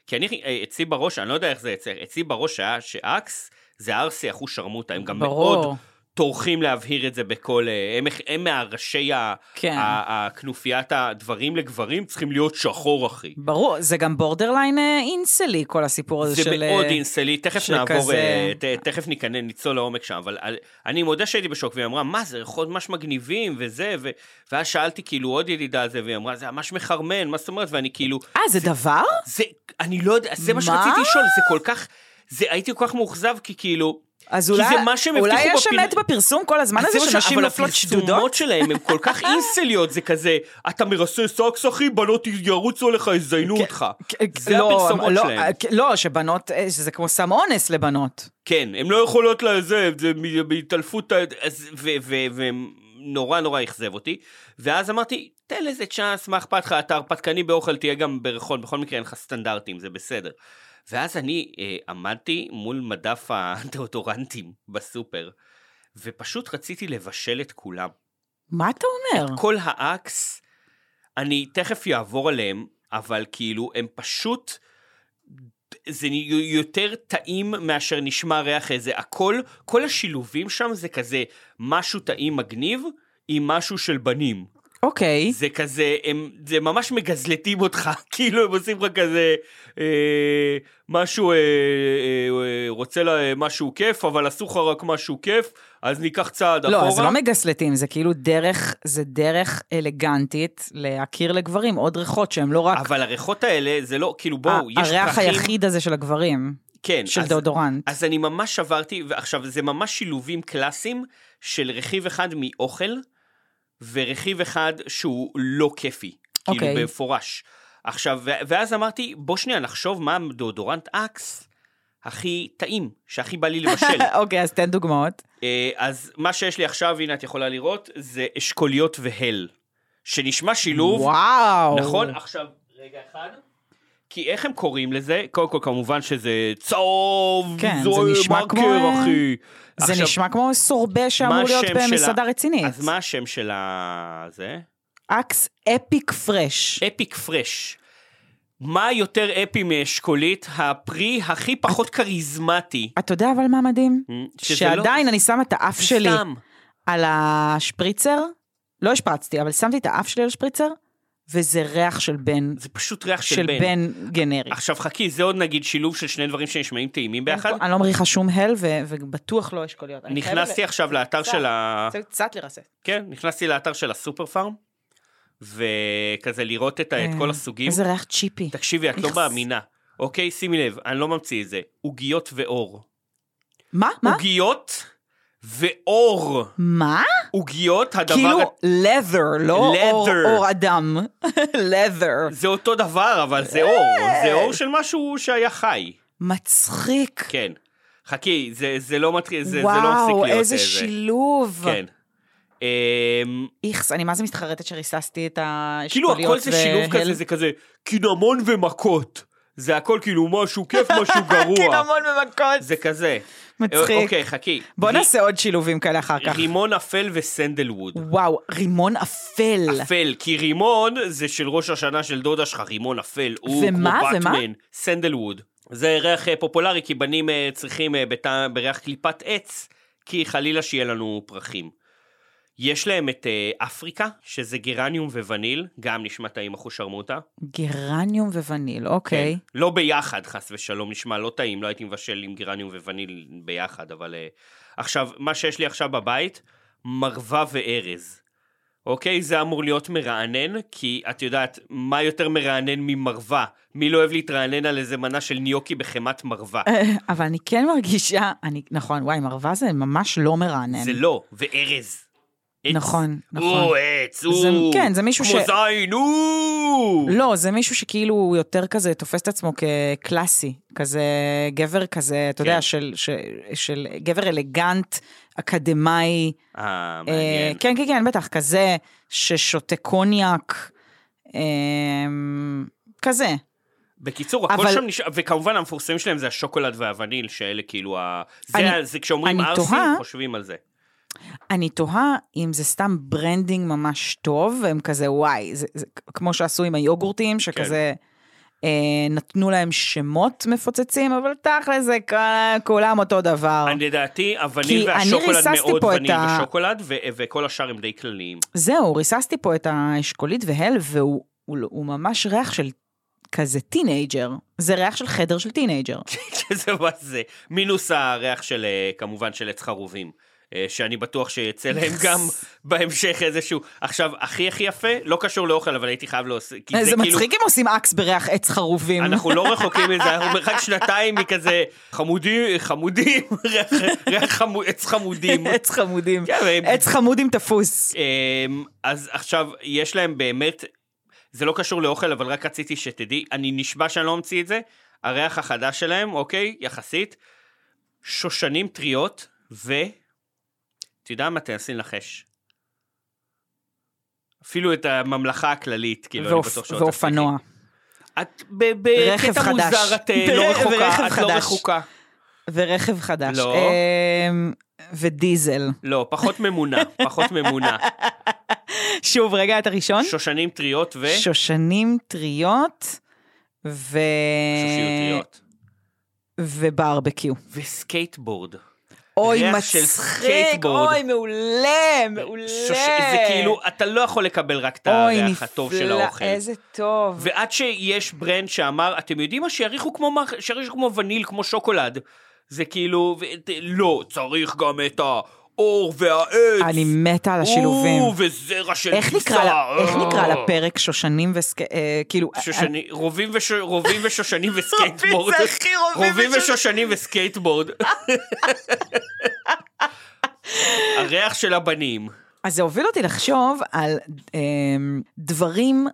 Speaker 2: כי אני, אה, אצלי בראש, אני לא יודע איך זה יצא, אצלי בראש היה שאקס זה ארסי אחוש שרמוטה, הם גם מאוד
Speaker 1: ברור.
Speaker 2: טורחים להבהיר את זה בכל... אה, הם, הם מהראשי ה-
Speaker 1: כן.
Speaker 2: ה- ה- הכנופיית הדברים לגברים צריכים להיות שחור, אחי.
Speaker 1: ברור, זה גם בורדרליין אה, אינסלי, כל הסיפור הזה
Speaker 2: זה
Speaker 1: של...
Speaker 2: מאוד
Speaker 1: אה,
Speaker 2: אינסלי, תכף
Speaker 1: שכזה-
Speaker 2: נעבור, אה, ת- תכף ניכנס, נצלול לעומק שם, אבל אה, אני מודה שהייתי בשוק, והיא אמרה, מה זה, ריחות ממש מגניבים וזה, ו- ואז שאלתי כאילו עוד ידידה על זה, והיא אמרה, זה ממש מחרמן, מה זאת אומרת? ואני כאילו,
Speaker 1: אה, זה דבר?
Speaker 2: זה, אני לא יודע, זה מה
Speaker 1: מה?
Speaker 2: שרציתי לשאול, זה כל כך, זה, הייתי כל כך מאוכזב, כי כאילו,
Speaker 1: אז
Speaker 2: כי
Speaker 1: אולי...
Speaker 2: זה מה שהם
Speaker 1: אולי
Speaker 2: הבטיחו
Speaker 1: יש
Speaker 2: בפר-
Speaker 1: אמת בפרסום כל הזמן הזה
Speaker 2: זה מה ש-
Speaker 1: שנשים
Speaker 2: אבל
Speaker 1: נופלות שדודות?
Speaker 2: הפרסומות שלהם הן כל כך אינסליות, זה כזה, אתה מרסס אקס אחי, בנות ירוצו עליך, יזיינו אותך. זה
Speaker 1: לא,
Speaker 2: הפרסומות
Speaker 1: לא,
Speaker 2: שלהם.
Speaker 1: אה, לא, שבנות, אה, שזה כמו סם אונס לבנות.
Speaker 2: כן, הן לא יכולות לזה, זה מ- בהתעלפות, ה- אז- ו- ו- ונורא נורא אכזב אותי. ואז אמרתי, תן לזה צ'אנס, מה אכפת לך, אתה הרפתקני באוכל, תהיה גם ברחוב, בכל מקרה אין לך סטנדרטים, זה בסדר. ואז אני אה, עמדתי מול מדף הדאודורנטים בסופר, ופשוט רציתי לבשל את כולם.
Speaker 1: מה אתה אומר?
Speaker 2: כל האקס, אני תכף אעבור עליהם, אבל כאילו, הם פשוט... זה נ- יותר טעים מאשר נשמע ריח איזה הכל, כל השילובים שם זה כזה משהו טעים מגניב עם משהו של בנים.
Speaker 1: אוקיי.
Speaker 2: זה כזה, הם, זה ממש מגזלטים אותך, כאילו הם עושים לך כזה אה, משהו, אה, אה, אה, רוצה לה, משהו כיף, אבל עשו לך רק משהו כיף, אז ניקח צעד
Speaker 1: לא,
Speaker 2: אחורה.
Speaker 1: אז זה לא מגסלטים, זה כאילו דרך, זה דרך אלגנטית להכיר לגברים עוד ריחות שהם לא רק...
Speaker 2: אבל הריחות האלה זה לא, כאילו בואו, יש
Speaker 1: ה- הריח
Speaker 2: פרחים-
Speaker 1: היחיד הזה של הגברים,
Speaker 2: כן,
Speaker 1: של
Speaker 2: אז-
Speaker 1: דאודורנט.
Speaker 2: אז אני ממש עברתי, ועכשיו זה ממש שילובים קלאסיים של רכיב אחד מאוכל, ורכיב אחד שהוא לא כיפי, כאילו
Speaker 1: אוקיי.
Speaker 2: במפורש. עכשיו, ו- ואז אמרתי, בוא שנייה נחשוב מה הדאודורנט אקס הכי טעים, שהכי בא לי לבשל.
Speaker 1: אוקיי, אז תן דוגמאות.
Speaker 2: אה, אז מה שיש לי עכשיו, הנה את יכולה לראות, זה אשכוליות והל, שנשמע שילוב
Speaker 1: וואו.
Speaker 2: נכון? עכשיו, רגע אחד. כי איך הם קוראים לזה? קודם כל, כמובן שזה צהוב,
Speaker 1: כן, זה
Speaker 2: זוהר,
Speaker 1: נשמע
Speaker 2: מרקר,
Speaker 1: כמו-
Speaker 2: אחי.
Speaker 1: זה
Speaker 2: עכשיו,
Speaker 1: נשמע כמו סורבה שאמור
Speaker 2: מה
Speaker 1: להיות
Speaker 2: השם של
Speaker 1: במסעדה
Speaker 2: ה-
Speaker 1: רצינית.
Speaker 2: אז מה השם של ה... זה?
Speaker 1: אקס אפיק פרש.
Speaker 2: אפיק פרש. מה יותר אפי מאשכולית? הפרי הכי פחות כריזמטי. אה,
Speaker 1: אתה יודע אבל מה מדהים?
Speaker 2: שזה
Speaker 1: אה,
Speaker 2: לא-
Speaker 1: שעדיין אני שמה את האף
Speaker 2: זה
Speaker 1: שלי
Speaker 2: סתם.
Speaker 1: על השפריצר, לא השפרצתי, אבל שמתי את האף שלי על השפריצר, וזה ריח של בן,
Speaker 2: זה פשוט ריח של
Speaker 1: של
Speaker 2: בן.
Speaker 1: בן גנרי.
Speaker 2: עכשיו חכי, זה עוד נגיד שילוב של שני דברים שנשמעים טעימים ביחד.
Speaker 1: אני לא מריחה שום הל, ו- ובטוח לא אשכוליות. אני חייבת
Speaker 2: נכנסתי
Speaker 1: ל-
Speaker 2: עכשיו לאתר
Speaker 1: קצת,
Speaker 2: של ה...
Speaker 1: צריך קצת לרסס.
Speaker 2: כן, נכנסתי לאתר של הסופר פארם, וכזה לראות את, ה- את כל
Speaker 1: כן.
Speaker 2: הסוגים.
Speaker 1: אה, איזה ריח צ'יפי.
Speaker 2: תקשיבי, את לא
Speaker 1: איכס.
Speaker 2: מאמינה. אוקיי, שימי לב, אני לא ממציא את זה. עוגיות ואור.
Speaker 1: מה? מה?
Speaker 2: עוגיות ואור.
Speaker 1: מה?
Speaker 2: עוגיות, הדבר...
Speaker 1: כאילו leather, לא אור-
Speaker 2: Leather.
Speaker 1: אור אדם. leather.
Speaker 2: זה אותו
Speaker 1: אה!
Speaker 2: דבר, אבל זה אור. זה אור של משהו שהיה חי.
Speaker 1: מצחיק.
Speaker 2: כן. חכי, זה, זה לא מתחיל, זה, זה לא מפסיק להיות...
Speaker 1: וואו, איזה
Speaker 2: אה, זה.
Speaker 1: שילוב.
Speaker 2: כן. אמ,
Speaker 1: איכס, אני מה זה מתחרטת שריססתי את האשכוליות.
Speaker 2: כאילו הכל זה שילוב
Speaker 1: והל.
Speaker 2: כזה, זה כזה קינמון ומכות. זה הכל כאילו משהו כיף, משהו גרוע.
Speaker 1: קינמון כן, במכות.
Speaker 2: זה כזה.
Speaker 1: מצחיק.
Speaker 2: אוקיי, חכי.
Speaker 1: בוא
Speaker 2: ר-
Speaker 1: נעשה עוד שילובים כאלה אחר כך.
Speaker 2: רימון אפל וסנדלווד.
Speaker 1: וואו, רימון אפל.
Speaker 2: אפל, כי רימון זה של ראש השנה של דודה שלך, רימון אפל. הוא
Speaker 1: ומה?
Speaker 2: כמו
Speaker 1: ומה?
Speaker 2: באטמן, סנדלווד. זה ריח אה, פופולרי, כי בנים אה, צריכים אה, בטעם- בריח קליפת עץ, כי חלילה שיהיה לנו פרחים. יש להם את אה, אפריקה, שזה גרניום ווניל, גם נשמע טעים אחושרמוטה.
Speaker 1: גרניום ווניל, אוקיי.
Speaker 2: כן. לא ביחד, חס ושלום, נשמע לא טעים, לא הייתי מבשל עם גרניום ווניל ביחד, אבל... אה, עכשיו, מה שיש לי עכשיו בבית, מרווה וארז. אוקיי? זה אמור להיות מרענן, כי את יודעת, מה יותר מרענן ממרווה? מי לא אוהב להתרענן על איזה מנה של ניוקי בחמת מרווה?
Speaker 1: אבל אני כן מרגישה, אני, נכון, וואי, מרווה זה ממש לא מרענן.
Speaker 2: זה לא, וארז. עץ.
Speaker 1: נכון, נכון.
Speaker 2: הוא עץ,
Speaker 1: זה-
Speaker 2: הוא...
Speaker 1: כן, זה מישהו
Speaker 2: כמו
Speaker 1: ש-
Speaker 2: זין, הוא!
Speaker 1: לא, זה מישהו שכאילו הוא יותר כזה תופס את עצמו כקלאסי, כזה גבר כזה, אתה
Speaker 2: כן.
Speaker 1: יודע, של, של, של גבר אלגנט, אקדמאי.
Speaker 2: אה,
Speaker 1: אה,
Speaker 2: מעניין.
Speaker 1: כן, כן, כן, בטח, כזה ששותה קוניאק, אה, כזה.
Speaker 2: בקיצור, הכל
Speaker 1: אבל-
Speaker 2: שם נשאר, וכמובן המפורסמים שלהם זה השוקולד והווניל, שאלה כאילו ה... זה,
Speaker 1: אני-
Speaker 2: ה- זה כשאומרים
Speaker 1: אני
Speaker 2: ארסים,
Speaker 1: תוהה-
Speaker 2: חושבים על זה.
Speaker 1: אני תוהה אם זה סתם ברנדינג ממש טוב, והם כזה וואי, זה, זה, כמו שעשו עם היוגורטים, שכזה
Speaker 2: כן.
Speaker 1: אה, נתנו להם שמות מפוצצים, אבל תכל'ס זה כ- כולם אותו דבר.
Speaker 2: אני לדעתי,
Speaker 1: אה. כי
Speaker 2: הווניל
Speaker 1: אני
Speaker 2: והשוקולד
Speaker 1: ריססתי
Speaker 2: מאוד
Speaker 1: פה את
Speaker 2: וניל
Speaker 1: ה-
Speaker 2: ושוקולד, ו- וכל השאר הם די כלליים.
Speaker 1: זהו, ריססתי פה את האשכולית והל, והוא הוא, הוא ממש ריח של כזה טינג'ר. זה ריח של חדר של טינג'ר.
Speaker 2: שזה מה זה, מינוס הריח של, אה, כמובן, של עץ חרובים. אה, שאני בטוח שיצא להם גם בהמשך איזשהו... עכשיו, הכי הכי יפה, לא קשור לאוכל, אבל הייתי חייב להוסיף. כי
Speaker 1: אה, זה,
Speaker 2: זה כאילו...
Speaker 1: מצחיק אם עושים אקס בריח עץ חרובים.
Speaker 2: אנחנו לא רחוקים מזה, אנחנו מרחק שנתיים מכזה חמודים, חמודים, ריח- ריח חמו- עץ חמודים.
Speaker 1: עץ חמודים.
Speaker 2: כן, אבל-
Speaker 1: עץ חמוד עם תפוס.
Speaker 2: אמ, אז עכשיו, יש להם באמת, זה לא קשור לאוכל, אבל רק רציתי שתדעי, אני נשבע שאני לא אמציא את זה, הריח החדש שלהם, אוקיי, יחסית, שושנים טריות, ו... אתה יודע מה? תנסי לנחש. אפילו את הממלכה הכללית, כאילו, אני
Speaker 1: ואופ-
Speaker 2: בטוח שעוד
Speaker 1: ואופנוע.
Speaker 2: תצליחי. את ב-
Speaker 1: רכב
Speaker 2: בקטע
Speaker 1: חדש.
Speaker 2: מוזר, את אה, לא
Speaker 1: ב-
Speaker 2: רחוקה,
Speaker 1: ורכב
Speaker 2: את לא
Speaker 1: חדש.
Speaker 2: רחוקה.
Speaker 1: ורכב חדש.
Speaker 2: לא.
Speaker 1: אמ, ודיזל.
Speaker 2: לא, פחות ממונה, פחות ממונה.
Speaker 1: שוב, רגע, את הראשון?
Speaker 2: שושנים טריות ו...
Speaker 1: שושנים טריות ו...
Speaker 2: שושיות טריות.
Speaker 1: וברבקיו.
Speaker 2: וסקייטבורד.
Speaker 1: אוי,
Speaker 2: ריח של
Speaker 1: מצחיק,
Speaker 2: סקייטבורד.
Speaker 1: אוי, מעולה, מעולה.
Speaker 2: שוש... זה כאילו, אתה לא יכול לקבל רק את
Speaker 1: אוי,
Speaker 2: הריח הטוב של
Speaker 1: נפלא,
Speaker 2: האוכל.
Speaker 1: איזה טוב.
Speaker 2: ועד שיש ברנד שאמר, אתם יודעים מה, שיריחו כמו, מח- שיריחו כמו וניל, כמו שוקולד. זה כאילו, ו... ת- לא, צריך גם את האור והעץ.
Speaker 1: אני מתה על השילובים.
Speaker 2: או, וזרע של
Speaker 1: איך נקרא לה- איך נקרא
Speaker 2: אה.
Speaker 1: לפרק שושנים וסק... אה, כאילו...
Speaker 2: שושני, רובים, וש, רובים ושושנים וסקייטבורד.
Speaker 1: זה הכי רובים
Speaker 2: רובים
Speaker 1: ושוש-
Speaker 2: ושושנים וסקייטבורד. הריח של הבנים.
Speaker 1: אז זה הוביל אותי לחשוב על אמ, דברים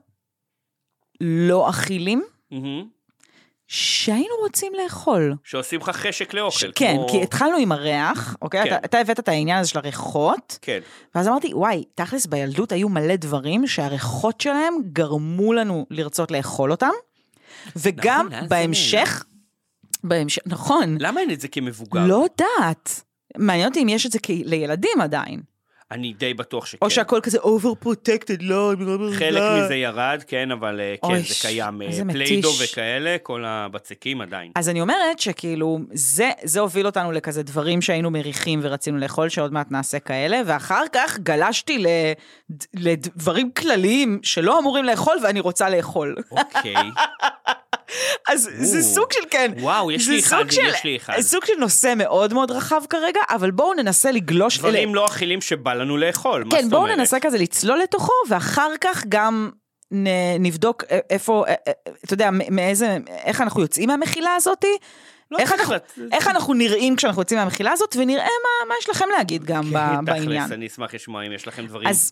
Speaker 1: לא אכילים
Speaker 2: מהמם.
Speaker 1: שהיינו רוצים לאכול.
Speaker 2: שעושים לך חשק לאוכל.
Speaker 1: כן,
Speaker 2: אוקיי, כמו-
Speaker 1: כי התחלנו עם הריח, אוקיי?
Speaker 2: כן.
Speaker 1: אתה, אתה הבאת את העניין הזה של הריחות,
Speaker 2: כן.
Speaker 1: ואז אמרתי, וואי, תכלס בילדות היו מלא דברים שהריחות שלהם גרמו לנו לרצות לאכול אותם, וגם
Speaker 2: נכון, לאן זה
Speaker 1: בהמשך, בהמשך, נכון,
Speaker 2: למה אין את זה כמבוגר?
Speaker 1: לא יודעת. מעניין אותי אם יש את זה כ- לילדים עדיין,
Speaker 2: אני די בטוח שכן.
Speaker 1: או שהכל כזה over protected, לא, לא, לא,
Speaker 2: כן. חלק
Speaker 1: לא.
Speaker 2: מזה ירד, כן, אבל אה, כן,
Speaker 1: אוי,
Speaker 2: זה קיים. אה,
Speaker 1: איזה
Speaker 2: פליידו
Speaker 1: מתיש.
Speaker 2: וכאלה, כל הבצקים עדיין.
Speaker 1: אז אני אומרת שכאילו, זה, זה הוביל אותנו לכזה דברים שהיינו מריחים ורצינו לאכול, שעוד מעט נעשה כאלה, ואחר כך גלשתי ל, לדברים כלליים שלא אמורים לאכול ואני רוצה לאכול.
Speaker 2: אוקיי.
Speaker 1: אז זה
Speaker 2: או.
Speaker 1: סוג של כן.
Speaker 2: וואו, יש
Speaker 1: זה
Speaker 2: לי אחד,
Speaker 1: סוג של-
Speaker 2: יש לי אחד.
Speaker 1: סוג של נושא מאוד מאוד רחב כרגע, אבל בואו ננסה לגלוש אלה.
Speaker 2: דברים לא אכילים שבא לנו לאכול, מה
Speaker 1: כן,
Speaker 2: זאת
Speaker 1: בואו
Speaker 2: אומרת?
Speaker 1: ננסה כזה לצלול לתוכו, ואחר כך גם נ, נבדוק א- איפה, א- א- אתה יודע, מ- מאיזה, איך אנחנו יוצאים מהמחילה הזאתי.
Speaker 2: לא
Speaker 1: איך
Speaker 2: צריך
Speaker 1: אנחנו,
Speaker 2: לת-
Speaker 1: איך אנחנו נראים כשאנחנו יוצאים מהמחילה הזאת, ונראה מה, מה יש לכם להגיד גם ב,
Speaker 2: כן,
Speaker 1: בעניין.
Speaker 2: תכלס, אני אשמח לשמוע אם יש לכם דברים
Speaker 1: אז,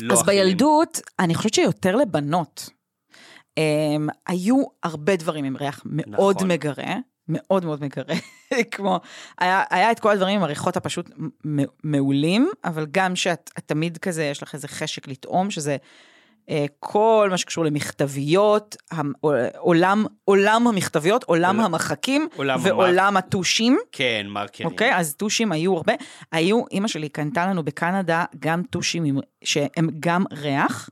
Speaker 2: לא
Speaker 1: אז
Speaker 2: אכילים.
Speaker 1: בילדות, אני חושבת שיותר לבנות. הם, היו הרבה דברים עם ריח מאוד
Speaker 2: נכון.
Speaker 1: מגרה, מאוד מאוד מקרה. כמו, היה, היה את כל הדברים עם הריחות הפשוט מ- מעולים, אבל גם שאת את תמיד כזה, יש לך איזה חשק לטעום, שזה אה, כל מה שקשור למכתביות, המ- עולם, עולם המכתביות, עולם
Speaker 2: עול-
Speaker 1: המחקים,
Speaker 2: עולם המ-
Speaker 1: ועולם הטושים.
Speaker 2: כן, מרקנים.
Speaker 1: אוקיי? אז טושים היו הרבה. היו, אימא שלי קנתה לנו בקנדה גם טושים עם- שהם גם ריח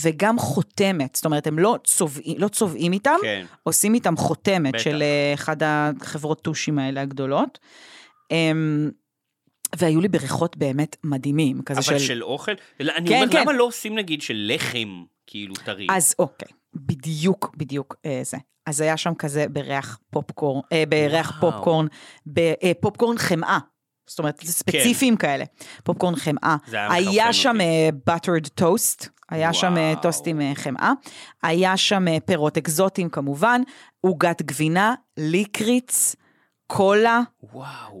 Speaker 1: וגם חותמת. זאת אומרת, הם לא צובעים, לא צובעים איתם,
Speaker 2: כן.
Speaker 1: עושים איתם חותמת
Speaker 2: בטח.
Speaker 1: של אה, אחד החברות טושים האלה הגדולות. אמ, והיו לי בריחות באמת מדהימים, כזה
Speaker 2: אבל
Speaker 1: של...
Speaker 2: של... של אוכל? לא, אני
Speaker 1: כן,
Speaker 2: אומר,
Speaker 1: כן.
Speaker 2: למה לא עושים נגיד של לחם, כאילו טרי?
Speaker 1: אז אוקיי, בדיוק, בדיוק אה, זה. אז היה שם כזה בריח פופקורן, אה, בריח
Speaker 2: וואו. כן.
Speaker 1: פופקורן, בפופקורן חמאה. זאת אומרת, זה ספציפיים כאלה. פופקורן חמאה.
Speaker 2: זה היה
Speaker 1: היה
Speaker 2: מחרפן
Speaker 1: שם בטרד טוסט, היה שם אה,
Speaker 2: וואו.
Speaker 1: טוסט עם אה, חמאה, היה שם אה, פירות אקזוטיים כמובן, עוגת גבינה, ליקריץ, קולה,
Speaker 2: וואו.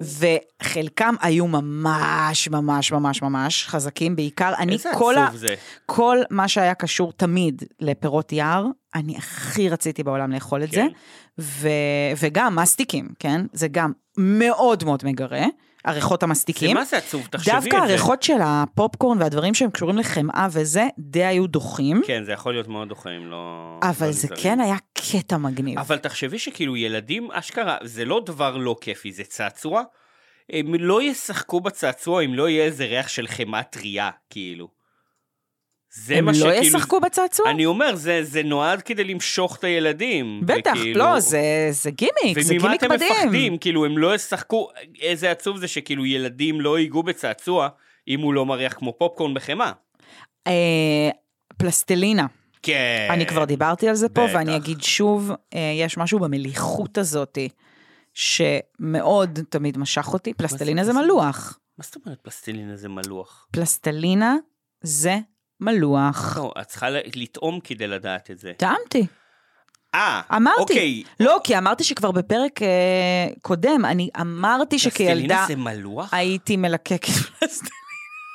Speaker 1: וחלקם היו ממש ממש ממש ממש חזקים, בעיקר אני
Speaker 2: איזה
Speaker 1: כל, ה...
Speaker 2: עצוב זה.
Speaker 1: כל מה שהיה קשור תמיד לפירות יער, אני הכי רציתי בעולם לאכול את
Speaker 2: כן.
Speaker 1: זה, ו... וגם מסטיקים, כן? זה גם מאוד מאוד מגרה, הריחות
Speaker 2: זה
Speaker 1: המסטיקים.
Speaker 2: מה זה עצוב, תחשבי את זה.
Speaker 1: דווקא הריחות של הפופקורן והדברים שהם קשורים לחמאה וזה, די היו דוחים,
Speaker 2: כן, זה יכול להיות מאוד דוחה אם לא...
Speaker 1: אבל
Speaker 2: לא
Speaker 1: זה
Speaker 2: נזהרים.
Speaker 1: כן היה קטע מגניב.
Speaker 2: אבל תחשבי שכאילו ילדים, אשכרה, זה לא דבר לא כיפי, זה צעצוע. הם לא ישחקו בצעצוע אם לא יהיה איזה ריח של חמאה טריה, כאילו. זה
Speaker 1: הם
Speaker 2: מה
Speaker 1: לא
Speaker 2: שכאילו...
Speaker 1: ישחקו בצעצוע?
Speaker 2: אני אומר, זה, זה נועד כדי למשוך את הילדים. כאילו-
Speaker 1: בטח,
Speaker 2: וכאילו-
Speaker 1: לא, זה זה גימיק, זה
Speaker 2: וממה
Speaker 1: גימיק
Speaker 2: אתם
Speaker 1: מדהים.
Speaker 2: מפחדים? כאילו, הם לא ישחקו, איזה עצוב זה שכאילו ילדים לא ייגעו בצעצוע אם הוא לא מריח כמו פופקורן בחמאה.
Speaker 1: אה, פלסטלינה.
Speaker 2: כן.
Speaker 1: אני כבר דיברתי על זה פה,
Speaker 2: בטח.
Speaker 1: ואני אגיד שוב, אה, יש משהו במליחות הזאתי, שמאוד תמיד משך אותי. פלסטלינה זה
Speaker 2: מה זה?
Speaker 1: מלוח.
Speaker 2: מה זאת אומרת פלסטלינה זה מלוח?
Speaker 1: פלסטלינה זה מלוח.
Speaker 2: לא, את צריכה לטעום כדי לדעת את זה.
Speaker 1: טעמתי.
Speaker 2: אה,
Speaker 1: אמרתי.
Speaker 2: אוקיי.
Speaker 1: לא, כי אמרתי שכבר בפרק אה, קודם, אני אמרתי
Speaker 2: פלסטלינה
Speaker 1: שכילדה
Speaker 2: זה מלוח?
Speaker 1: הייתי מלקקת פלסטלינה.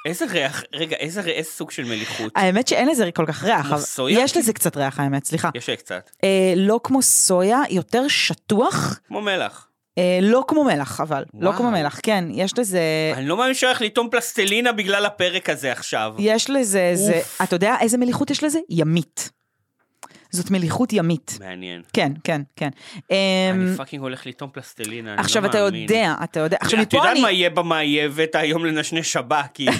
Speaker 2: איזה ריח, רגע, איזה ר- איזה סוג של מליחות?
Speaker 1: האמת שאין לזה כל כך ריח,
Speaker 2: כמו
Speaker 1: אבל
Speaker 2: סויה? כן.
Speaker 1: יש לזה קצת ריח האמת, סליחה.
Speaker 2: יש לי קצת.
Speaker 1: אה, לא כמו סויה, יותר שטוח,
Speaker 2: כמו מלח.
Speaker 1: אה, לא כמו מלח אבל, לא
Speaker 2: וואו.
Speaker 1: כמו מלח, כן, יש לזה...
Speaker 2: אני לא מאמין שהולך לטעום פלסטלינה בגלל הפרק הזה עכשיו.
Speaker 1: יש לזה איזה,
Speaker 2: אוף.
Speaker 1: אתה יודע איזה מליחות יש לזה? ימית. זאת מליחות ימית.
Speaker 2: מעניין.
Speaker 1: כן, כן, כן.
Speaker 2: אני
Speaker 1: אמ,
Speaker 2: פאקינג הולך לטעום פלסטלינה, אני לא מאמין.
Speaker 1: עכשיו אתה יודע, אתה יודע, עכשיו
Speaker 2: את יודעת
Speaker 1: מפה אני...
Speaker 2: מה יהיה במאייבת היום לנשנש הבא, כאילו?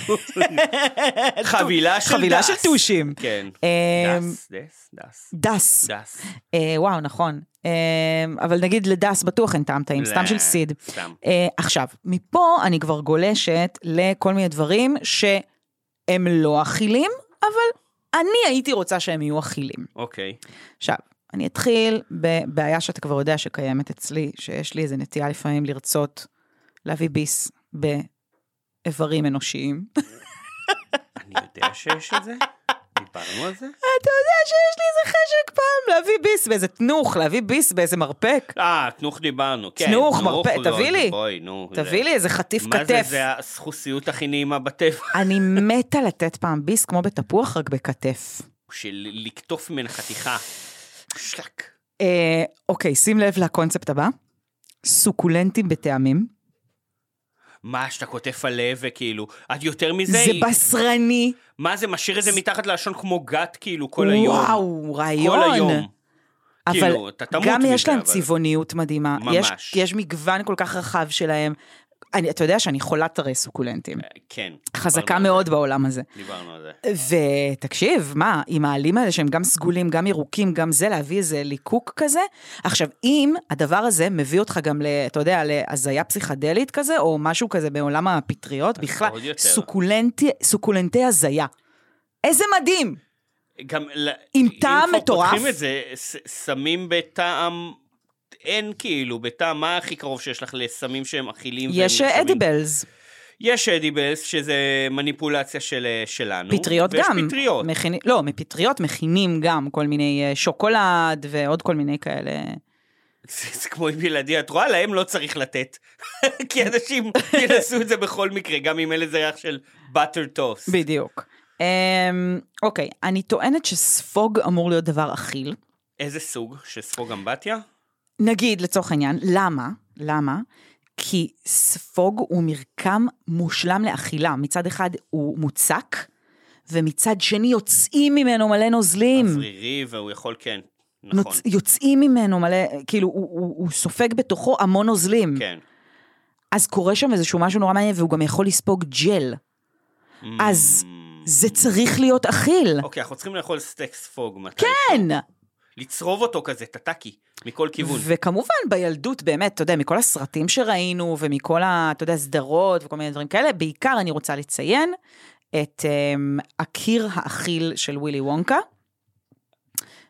Speaker 2: חבילה של דס.
Speaker 1: חבילה של טושים.
Speaker 2: כן.
Speaker 1: אמ,
Speaker 2: דס, דס, דס.
Speaker 1: דס.
Speaker 2: דס.
Speaker 1: אה, וואו, נכון. אמ, אבל נגיד לדס בטוח אין טעם טעים, סתם
Speaker 2: לא,
Speaker 1: של סיד.
Speaker 2: סתם.
Speaker 1: אה, עכשיו, מפה אני כבר גולשת לכל מיני דברים שהם לא אכילים, אבל אני הייתי רוצה שהם יהיו אכילים.
Speaker 2: אוקיי.
Speaker 1: עכשיו, אני אתחיל בבעיה שאתה כבר יודע שקיימת אצלי, שיש לי איזו נטייה לפעמים לרצות להביא ביס באיברים אנושיים.
Speaker 2: אני יודע שיש את זה? דיברנו על זה?
Speaker 1: אתה יודע שיש לי איזה חשק פעם להביא ביס באיזה תנוך, להביא ביס באיזה מרפק.
Speaker 2: אה, תנוך דיברנו, כן.
Speaker 1: תנוך, מרפא,
Speaker 2: לא,
Speaker 1: תביא לי.
Speaker 2: בואי, נו.
Speaker 1: תביא
Speaker 2: זה-
Speaker 1: לי איזה חטיף
Speaker 2: מה זה,
Speaker 1: כתף.
Speaker 2: זה הסחוסיות הכי נעימה בטבע.
Speaker 1: אני מתה לתת פעם ביס כמו בתפוח, רק בכתף.
Speaker 2: של לקטוף ממנה חתיכה. שלק.
Speaker 1: אה, אוקיי, שים לב לקונספט הבא. סוקולנטים בטעמים.
Speaker 2: מה שאתה כותף על לב וכאילו, את יותר מזה,
Speaker 1: זה בשרני.
Speaker 2: מה זה, משאיר את זה מתחת ללשון כמו גת כאילו כל היום.
Speaker 1: וואו, רעיון.
Speaker 2: כל היום.
Speaker 1: אבל
Speaker 2: כאילו, אתה תמות
Speaker 1: גם
Speaker 2: מזה,
Speaker 1: יש להם
Speaker 2: אבל-
Speaker 1: צבעוניות מדהימה.
Speaker 2: ממש.
Speaker 1: יש, יש מגוון כל כך רחב שלהם. אני, אתה יודע שאני חולת הרי סוקולנטים.
Speaker 2: כן.
Speaker 1: חזקה
Speaker 2: דיברנו על
Speaker 1: מאוד בעולם הזה.
Speaker 2: זה, דיברנו על זה.
Speaker 1: ותקשיב, מה, עם העלים האלה שהם גם סגולים, גם ירוקים, גם זה, להביא איזה ליקוק כזה? עכשיו, אם הדבר הזה מביא אותך גם, ל, אתה יודע, להזיה פסיכדלית כזה, או משהו כזה בעולם הפטריות, בכלל,
Speaker 2: עוד יותר.
Speaker 1: סוקולנטי, סוקולנטי הזיה. איזה מדהים!
Speaker 2: גם... ל-
Speaker 1: עם טעם
Speaker 2: אם כבר
Speaker 1: מטורף.
Speaker 2: פותחים את זה, ש- שמים בטעם... אין כאילו, בטעם, מה הכי קרוב שיש לך לסמים שהם אכילים? והם
Speaker 1: יש אה,
Speaker 2: נחשבים?
Speaker 1: אדיבלס,
Speaker 2: יש אדיבלס, שזה מניפולציה של, אה, שלנו.
Speaker 1: פטריות גם.
Speaker 2: ויש פטריות.
Speaker 1: מכיני, לא, מפטריות מכינים גם כל מיני אה, שוקולד ועוד כל מיני כאלה.
Speaker 2: זה זה כמו עם ילדים, את רואה? להם לא צריך לתת. כי אנשים ינסו את זה בכל מקרה, גם אם אין לזה ריח של butter toast.
Speaker 1: בדיוק. אמ, אוקיי, אני טוענת שספוג אמור להיות דבר אכיל.
Speaker 2: איזה סוג? של ספוג אמבטיה?
Speaker 1: נגיד, לצורך העניין, למה? למה? כי ספוג הוא מרקם מושלם לאכילה. מצד אחד הוא מוצק, ומצד שני יוצאים ממנו מלא נוזלים.
Speaker 2: אוורירי והוא יכול, כן, נכון,
Speaker 1: נוצ... יוצאים ממנו מלא, כאילו, הוא, הוא, הוא סופג בתוכו המון נוזלים.
Speaker 2: כן.
Speaker 1: אז קורה שם איזשהו משהו נורא מעניין, והוא גם יכול לספוג ג'ל. אז זה צריך להיות אכיל.
Speaker 2: Mm. אוקיי, אנחנו צריכים לאכול סטייק ספוג מתי.
Speaker 1: כן!
Speaker 2: לצרוב אותו כזה, טאטאקי, מכל כיוון.
Speaker 1: וכמובן, בילדות, באמת, אתה יודע, מכל הסרטים שראינו, ומכל, ה- אתה יודע, סדרות וכל מיני דברים כאלה, בעיקר אני רוצה לציין את אמ, הקיר האכיל של ווילי וונקה,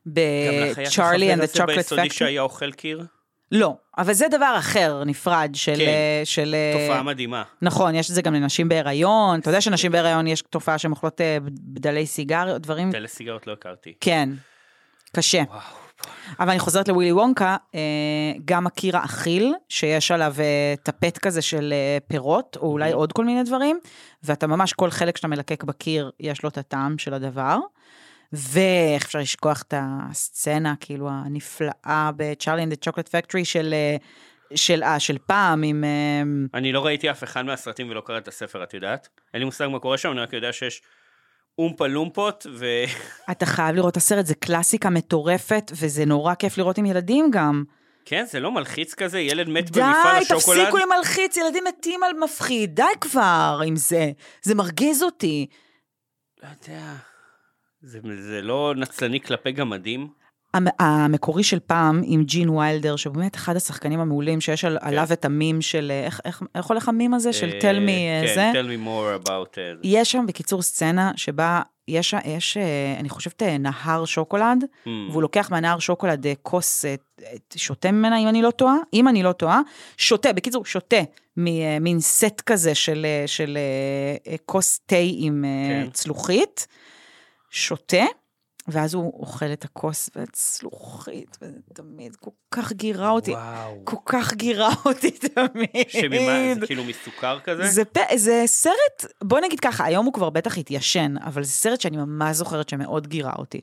Speaker 2: גם לך היה את
Speaker 1: בצ'ארלי
Speaker 2: החבר
Speaker 1: and
Speaker 2: הזה
Speaker 1: the Chocolate
Speaker 2: ביסודי
Speaker 1: Factory.
Speaker 2: שהיה אוכל קיר?
Speaker 1: לא, אבל זה דבר אחר, נפרד, של...
Speaker 2: כן.
Speaker 1: של אה,
Speaker 2: תופעה מדהימה.
Speaker 1: נכון, יש את זה גם לנשים בהיריון. אתה יודע שנשים בהיריון יש תופעה שהן אוכלות אה, בדלי סיגריות, דברים...
Speaker 2: כאלה סיגרות לא הכרתי.
Speaker 1: כן, קשה.
Speaker 2: וואו.
Speaker 1: אבל אני חוזרת לווילי וונקה, אה, גם הקיר האכיל, שיש עליו אה, טפט כזה של אה, פירות, או אולי עוד כל מיני דברים, ואתה ממש, כל חלק שאתה מלקק בקיר, יש לו את הטעם של הדבר. ואיך אפשר לשכוח את הסצנה, כאילו, הנפלאה בצ'ארלי אנד צ'וקלט פקטורי של... אה, של, אה, של פעם עם... אה,
Speaker 2: אני לא ראיתי אף אחד מהסרטים ולא קראת את הספר, את יודעת? אין לי מושג מה קורה שם, אני רק יודע שיש אומפה לומפות, וכן,
Speaker 1: אתה חייב לראות את הסרט, זה קלאסיקה מטורפת, וזה נורא כיף לראות עם ילדים גם.
Speaker 2: זה לא מלחיץ כזה? ילד מת
Speaker 1: די,
Speaker 2: במפעל השוקולד?
Speaker 1: תפסיקו עם מלחיץ, ילדים מתים על מפחיד, די כבר עם זה. זה מרגיז אותי.
Speaker 2: לא יודע. זה, זה לא נצלני כלפי גמדים?
Speaker 1: המ- המקורי של פעם עם ג'ין ויילדר, שבאמת אחד השחקנים המעולים שיש
Speaker 2: כן.
Speaker 1: על, עליו את המים של, אה, איך, איך, איך הולך המים הזה? של tell me אה,
Speaker 2: כן,
Speaker 1: זה?
Speaker 2: tell me more about אה, it.
Speaker 1: יש שם בקיצור סצנה שבה יש, יש אה, אני חושבת, אה, נהר שוקולד,
Speaker 2: Mm.
Speaker 1: והוא לא לוקח מהנהר שוקולד אה, כוס, אה, אה, שותה ממנה, אם אני לא טועה, אם אני לא טועה, שותה, בקיצור, שותה ממין סט כזה של, אה, של אה, אה, כוס תה עם אה,
Speaker 2: כן.
Speaker 1: צלוחית, שותה. ואז הוא אוכל את הכוס והצלוחית, וזה תמיד כל כך גירה אותי,
Speaker 2: וואו.
Speaker 1: כל כך גירה אותי תמיד.
Speaker 2: שממה, זה כאילו מסוכר כזה?
Speaker 1: זה, פ... זה סרט, בוא נגיד ככה, היום הוא כבר בטח התיישן, אבל זה סרט שאני ממש זוכרת שמאוד גירה אותי.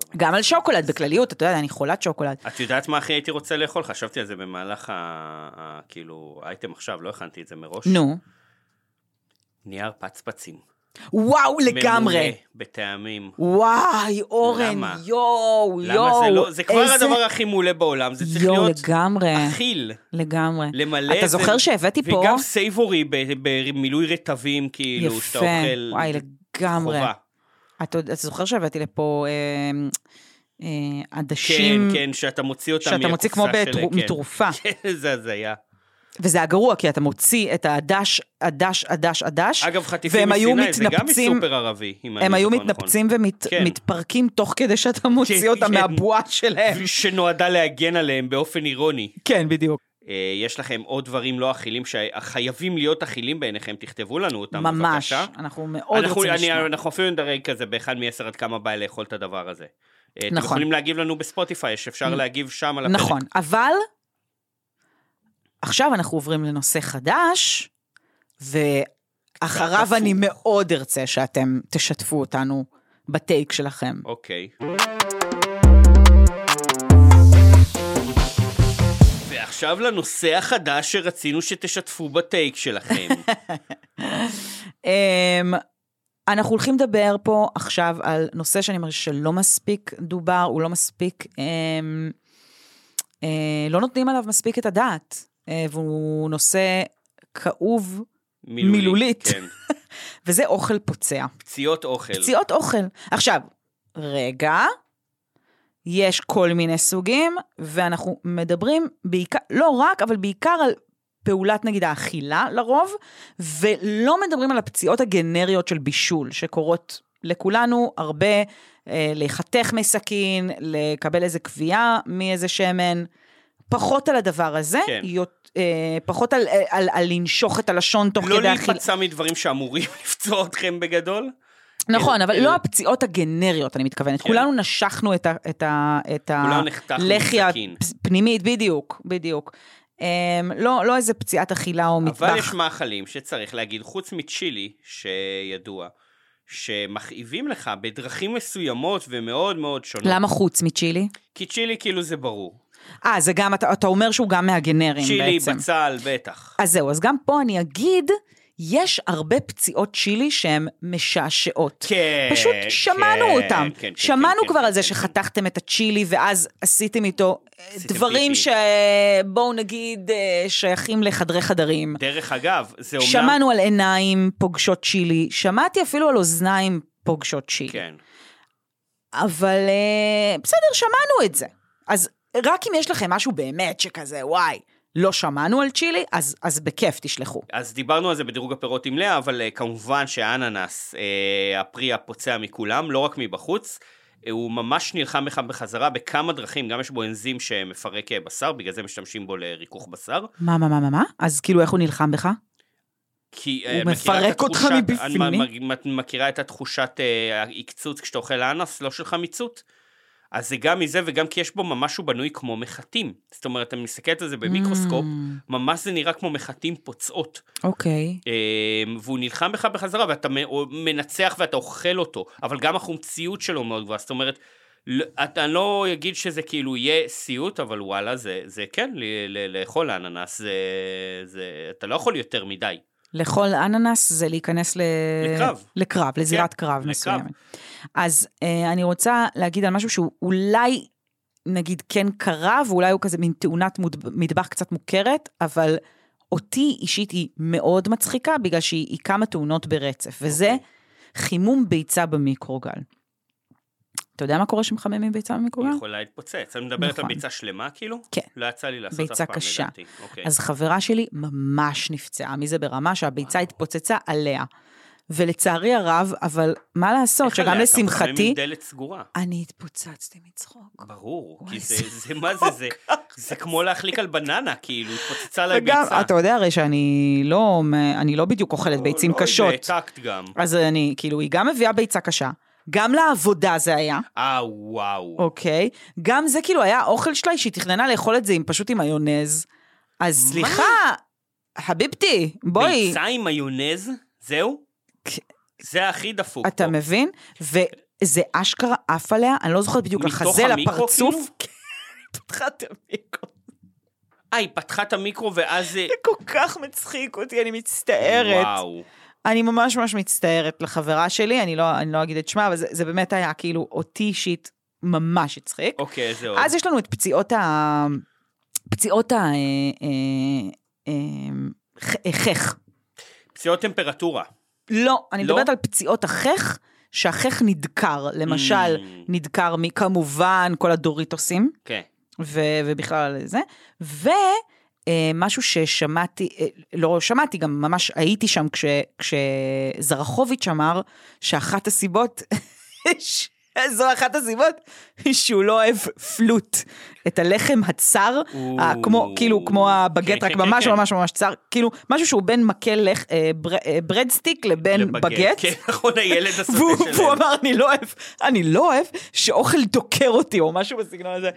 Speaker 2: טוב.
Speaker 1: גם על שוקולד בכלליות, אתה יודע, אני חולת שוקולד.
Speaker 2: את יודעת מה הכי הייתי רוצה לאכול? חשבתי על זה במהלך ה... ה... כאילו, האייטם עכשיו, לא הכנתי את זה מראש.
Speaker 1: נו.
Speaker 2: נייר פצפצים.
Speaker 1: וואו, לגמרי.
Speaker 2: ממולא בטעמים.
Speaker 1: וואי, אורן,
Speaker 2: למה?
Speaker 1: יואו,
Speaker 2: למה זה
Speaker 1: יואו.
Speaker 2: לא... זה כבר
Speaker 1: איזה-
Speaker 2: הדבר הכי מעולה בעולם, זה צריך
Speaker 1: יואו,
Speaker 2: להיות
Speaker 1: לגמרי,
Speaker 2: אכיל,
Speaker 1: לגמרי.
Speaker 2: למלא
Speaker 1: אתה
Speaker 2: את זה.
Speaker 1: זוכר שהבאתי פה?
Speaker 2: וגם סייבורי ב- במילוי רטבים, כאילו, שאתה
Speaker 1: יפה,
Speaker 2: אוכל...
Speaker 1: וואי,
Speaker 2: זה
Speaker 1: לגמרי.
Speaker 2: חובה.
Speaker 1: אתה אתה זוכר שהבאתי לפה אה, אה,
Speaker 2: כן,
Speaker 1: עדשים,
Speaker 2: כן, שאתה מוציא אותם
Speaker 1: שאתה מוציא כמו
Speaker 2: מהקופסה
Speaker 1: בתרו-
Speaker 2: שלהם, כן.
Speaker 1: מתרופה.
Speaker 2: כן, זה הזיה.
Speaker 1: וזה הגרוע, כי אתה מוציא את הדש, הדש, הדש, הדש.
Speaker 2: אגב, חטיפים
Speaker 1: והם היו
Speaker 2: מסיני, זה גם
Speaker 1: מתנפצים-
Speaker 2: מסופר ערבי, אם אני
Speaker 1: הם היו
Speaker 2: זוכר נכון.
Speaker 1: מתנפצים
Speaker 2: כן.
Speaker 1: ומתפרקים תוך כדי שאתה
Speaker 2: כן,
Speaker 1: מוציא אותם
Speaker 2: כן.
Speaker 1: מהבועה שלהם.
Speaker 2: שנועדה להגן עליהם באופן אירוני.
Speaker 1: כן, בדיוק.
Speaker 2: אה, יש לכם עוד דברים לא אכילים שחייבים להיות אכילים בעיניכם, תכתבו לנו אותם
Speaker 1: ממש.
Speaker 2: בבקשה.
Speaker 1: אנחנו מאוד
Speaker 2: אנחנו-
Speaker 1: רוצים
Speaker 2: אני-
Speaker 1: לשמוע.
Speaker 2: אנחנו אפילו נדרג כזה באחד מעשר עד כמה בא לאכול את הדבר הזה. אה, אתם
Speaker 1: נכון.
Speaker 2: יכולים להגיב לנו בספוטיפיי, שאפשר להגיב שם על הפרק.
Speaker 1: נכון, אבל עכשיו אנחנו עוברים לנושא חדש, ואחריו
Speaker 2: הפוך.
Speaker 1: אני מאוד ארצה שאתם תשתפו אותנו בטייק שלכם.
Speaker 2: אוקיי. ועכשיו לנושא החדש שרצינו שתשתפו בטייק שלכם.
Speaker 1: אמ, אנחנו הולכים לדבר פה עכשיו על נושא שאני מרגישה שלא מספיק דובר, הוא לא מספיק, אמ, אה, לא נותנים עליו מספיק את הדעת, אה, והוא נושא כאוב,
Speaker 2: מילולית.
Speaker 1: מילולית.
Speaker 2: כן.
Speaker 1: וזה אוכל פוצע.
Speaker 2: פציעות אוכל.
Speaker 1: פציעות אוכל. עכשיו, רגע, יש כל מיני סוגים, ואנחנו מדברים בעיקר, לא רק, אבל בעיקר על פעולת נגיד האכילה לרוב, ולא מדברים על הפציעות הגנריות של בישול, שקורות לכולנו הרבה, אה, להיחתך מסכין, לקבל איזה קביעה מאיזה שמן. פחות על הדבר הזה,
Speaker 2: כן.
Speaker 1: יות, אה, פחות על, אה, על, על לנשוך את הלשון תוך
Speaker 2: לא
Speaker 1: כדי אכילה.
Speaker 2: להיפצע מדברים שאמורים לפצוע אתכם בגדול.
Speaker 1: נכון,
Speaker 2: אל-
Speaker 1: אבל
Speaker 2: אל-
Speaker 1: לא הפציעות הגנריות, אני מתכוונת.
Speaker 2: אה, כן.
Speaker 1: כולנו נשכנו את ה- את ה- את
Speaker 2: כולנו נחתכנו
Speaker 1: הלחי
Speaker 2: בסכין.
Speaker 1: הפנימית, בדיוק, בדיוק. אמ, לא לא איזה פציעת אכילה או
Speaker 2: אבל יש
Speaker 1: מטבח.
Speaker 2: מאכלים שצריך להגיד, חוץ מצ'ילי, שידוע, שמכאיבים לך בדרכים מסוימות ומאוד מאוד שונות.
Speaker 1: למה חוץ מצ'ילי?
Speaker 2: כי צ'ילי כאילו זה ברור.
Speaker 1: אה, זה גם, אתה, אתה אומר שהוא גם מהגנרים
Speaker 2: צ'ילי,
Speaker 1: בעצם.
Speaker 2: בצל, בטח.
Speaker 1: אז זהו, אז גם פה אני אגיד, יש הרבה פציעות צ'ילי שהן משעשעות.
Speaker 2: כן,
Speaker 1: פשוט
Speaker 2: כן,
Speaker 1: שמענו
Speaker 2: כן,
Speaker 1: אותם.
Speaker 2: כן, כן,
Speaker 1: שמענו
Speaker 2: כן,
Speaker 1: כבר
Speaker 2: כן,
Speaker 1: על זה
Speaker 2: כן,
Speaker 1: שחתכתם את הצ'ילי ואז עשיתם איתו אה,
Speaker 2: עשיתם
Speaker 1: דברים
Speaker 2: פיפי.
Speaker 1: שבואו נגיד אה, שייכים לחדרי חדרים.
Speaker 2: דרך אגב, זה אומנם...
Speaker 1: שמענו על עיניים פוגשות צ'ילי, שמעתי אפילו על אוזניים פוגשות צ'ילי.
Speaker 2: כן.
Speaker 1: אבל אה, בסדר, שמענו את זה. אז רק אם יש לכם משהו באמת שכזה, וואי, לא שמענו על צ'ילי, אז, אז בכיף תשלחו.
Speaker 2: אז דיברנו על זה בדירוג הפירות עם לאה, אבל אה, כמובן שהאננס, אה, הפרי הפוצע מכולם, לא רק מבחוץ, אה, הוא ממש נלחם בך בחזרה בכמה דרכים, גם יש בו אנזים שמפרק אה, בשר, בגלל זה משתמשים בו לריכוך בשר.
Speaker 1: מה, מה, מה, מה, מה? אז כאילו, איך הוא נלחם בך?
Speaker 2: כי
Speaker 1: הוא
Speaker 2: אה, מכירה את
Speaker 1: מפרק אותך
Speaker 2: התחושת-
Speaker 1: מבפנים?
Speaker 2: אני מ- מ- את מכירה את התחושת אה, העקצוץ כשאתה אוכל אננס, לא של חמיצות? אז זה גם מזה, וגם כי יש בו ממש הוא בנוי כמו מחטים. זאת אומרת, אתה מסתכלת על זה במיקרוסקופ,
Speaker 1: Mm.
Speaker 2: ממש זה נראה כמו מחטים פוצעות.
Speaker 1: אוקיי.
Speaker 2: אמ, והוא נלחם בך בחזרה, ואתה מ- או- מנצח ואתה אוכל אותו, אבל גם החומציות שלו מאוד גבוהה, זאת אומרת, לא- אתה אני לא אגיד שזה כאילו יהיה סיוט, אבל וואלה, זה, זה כן, ל- ל- לאכול אננס, זה, זה, אתה לא יכול יותר מדי.
Speaker 1: לכל אננס זה להיכנס ל...
Speaker 2: לקרב.
Speaker 1: לקרב, לזירת
Speaker 2: כן,
Speaker 1: קרב
Speaker 2: לקרב.
Speaker 1: מסוימת. אז אה, אני רוצה להגיד על משהו שהוא אולי, נגיד, כן קרה, ואולי הוא כזה מין תאונת מוד- מטבח קצת מוכרת, אבל אותי אישית היא מאוד מצחיקה, בגלל שהיא היא כמה תאונות ברצף,
Speaker 2: אוקיי.
Speaker 1: וזה חימום ביצה במיקרוגל. אתה יודע מה קורה כשמחממים ביצה
Speaker 2: היא
Speaker 1: במיקרוגל?
Speaker 2: יכולה להתפוצץ. אני מדברת
Speaker 1: נכון.
Speaker 2: על ביצה שלמה כאילו?
Speaker 1: כן.
Speaker 2: לא יצא לי לעשות אף פעם,
Speaker 1: ביצה קשה.
Speaker 2: לדעתי. אוקיי.
Speaker 1: אז חברה שלי ממש נפצעה מזה ברמה שהביצה התפוצצה עליה. ולצערי הרב, אבל מה לעשות,
Speaker 2: איך עליה?
Speaker 1: שגם
Speaker 2: אתה מחמם עם
Speaker 1: לשמחתי,
Speaker 2: דלת סגורה.
Speaker 1: אני התפוצצתי מצחוק.
Speaker 2: ברור,
Speaker 1: וואי,
Speaker 2: כי זה,
Speaker 1: זה
Speaker 2: זה מה זה, זה, זה כמו להחליק על בננה, כאילו, התפוצצה לה ביצה.
Speaker 1: וגם, אתה יודע הרי שאני לא, אני לא בדיוק אוכלת ביצים
Speaker 2: לא,
Speaker 1: קשות.
Speaker 2: זה טקט גם.
Speaker 1: אז אני, כאילו, היא גם מביאה ביצה קשה, גם לעבודה זה היה,
Speaker 2: אה, וואו.
Speaker 1: אוקיי? גם זה כאילו היה אוכל שלה, שהיא תכננה לאכול את זה עם פשוט עם מיונז. אז
Speaker 2: מה?
Speaker 1: סליחה, חביבתי, בואי.
Speaker 2: ביצה עם מיונז? זהו?
Speaker 1: כ-
Speaker 2: זה הכי דפוק.
Speaker 1: אתה
Speaker 2: פה.
Speaker 1: מבין? וזה אשכרה עף עליה, אני לא זוכרת בדיוק,
Speaker 2: מתוך
Speaker 1: לחזה,
Speaker 2: המיקרו,
Speaker 1: לפרצוף.
Speaker 2: כאילו?
Speaker 1: כן, פתחה את המיקרו.
Speaker 2: אה, היא פתחה את המיקרו ואז... זה-
Speaker 1: זה כל כך מצחיק אותי, אני מצטערת.
Speaker 2: וואו.
Speaker 1: אני ממש ממש מצטערת לחברה שלי, אני לא, אני לא אגיד את שמה, אבל זה, זה באמת היה כאילו אותי אישית ממש הצחיק.
Speaker 2: אוקיי, איזה עוד.
Speaker 1: אז יש לנו את פציעות ה... פציעות ה... אה, אה, אה, ח- אה, חך.
Speaker 2: פציעות טמפרטורה.
Speaker 1: לא, אני
Speaker 2: לא?
Speaker 1: מדברת על פציעות החך, שהחך נדקר, למשל,
Speaker 2: Mm.
Speaker 1: נדקר מכמובן כל הדוריטוסים.
Speaker 2: כן.
Speaker 1: ו- ובכלל זה. ומשהו ששמעתי, אה, לא שמעתי, גם ממש הייתי שם כש, כשזרחוביץ' אמר שאחת הסיבות, ש- זו אחת הסיבות, שהוא לא אוהב פלוט, את הלחם הצר,
Speaker 2: או.
Speaker 1: ה- כמו, כאילו, כמו הבגט,
Speaker 2: כן,
Speaker 1: רק
Speaker 2: כן, כן,
Speaker 1: ממש
Speaker 2: כן.
Speaker 1: ממש ממש צר, כאילו, משהו שהוא בין מקל לח- אה, בר- אה, ברד-סטיק לבין
Speaker 2: לבגט.
Speaker 1: בגט.
Speaker 2: כן, נכון, הילד הסוטה
Speaker 1: והוא
Speaker 2: שלהם.
Speaker 1: והוא אמר, אני לא אוהב, אני לא אוהב שאוכל דוקר אותי, או משהו בסגנון הזה.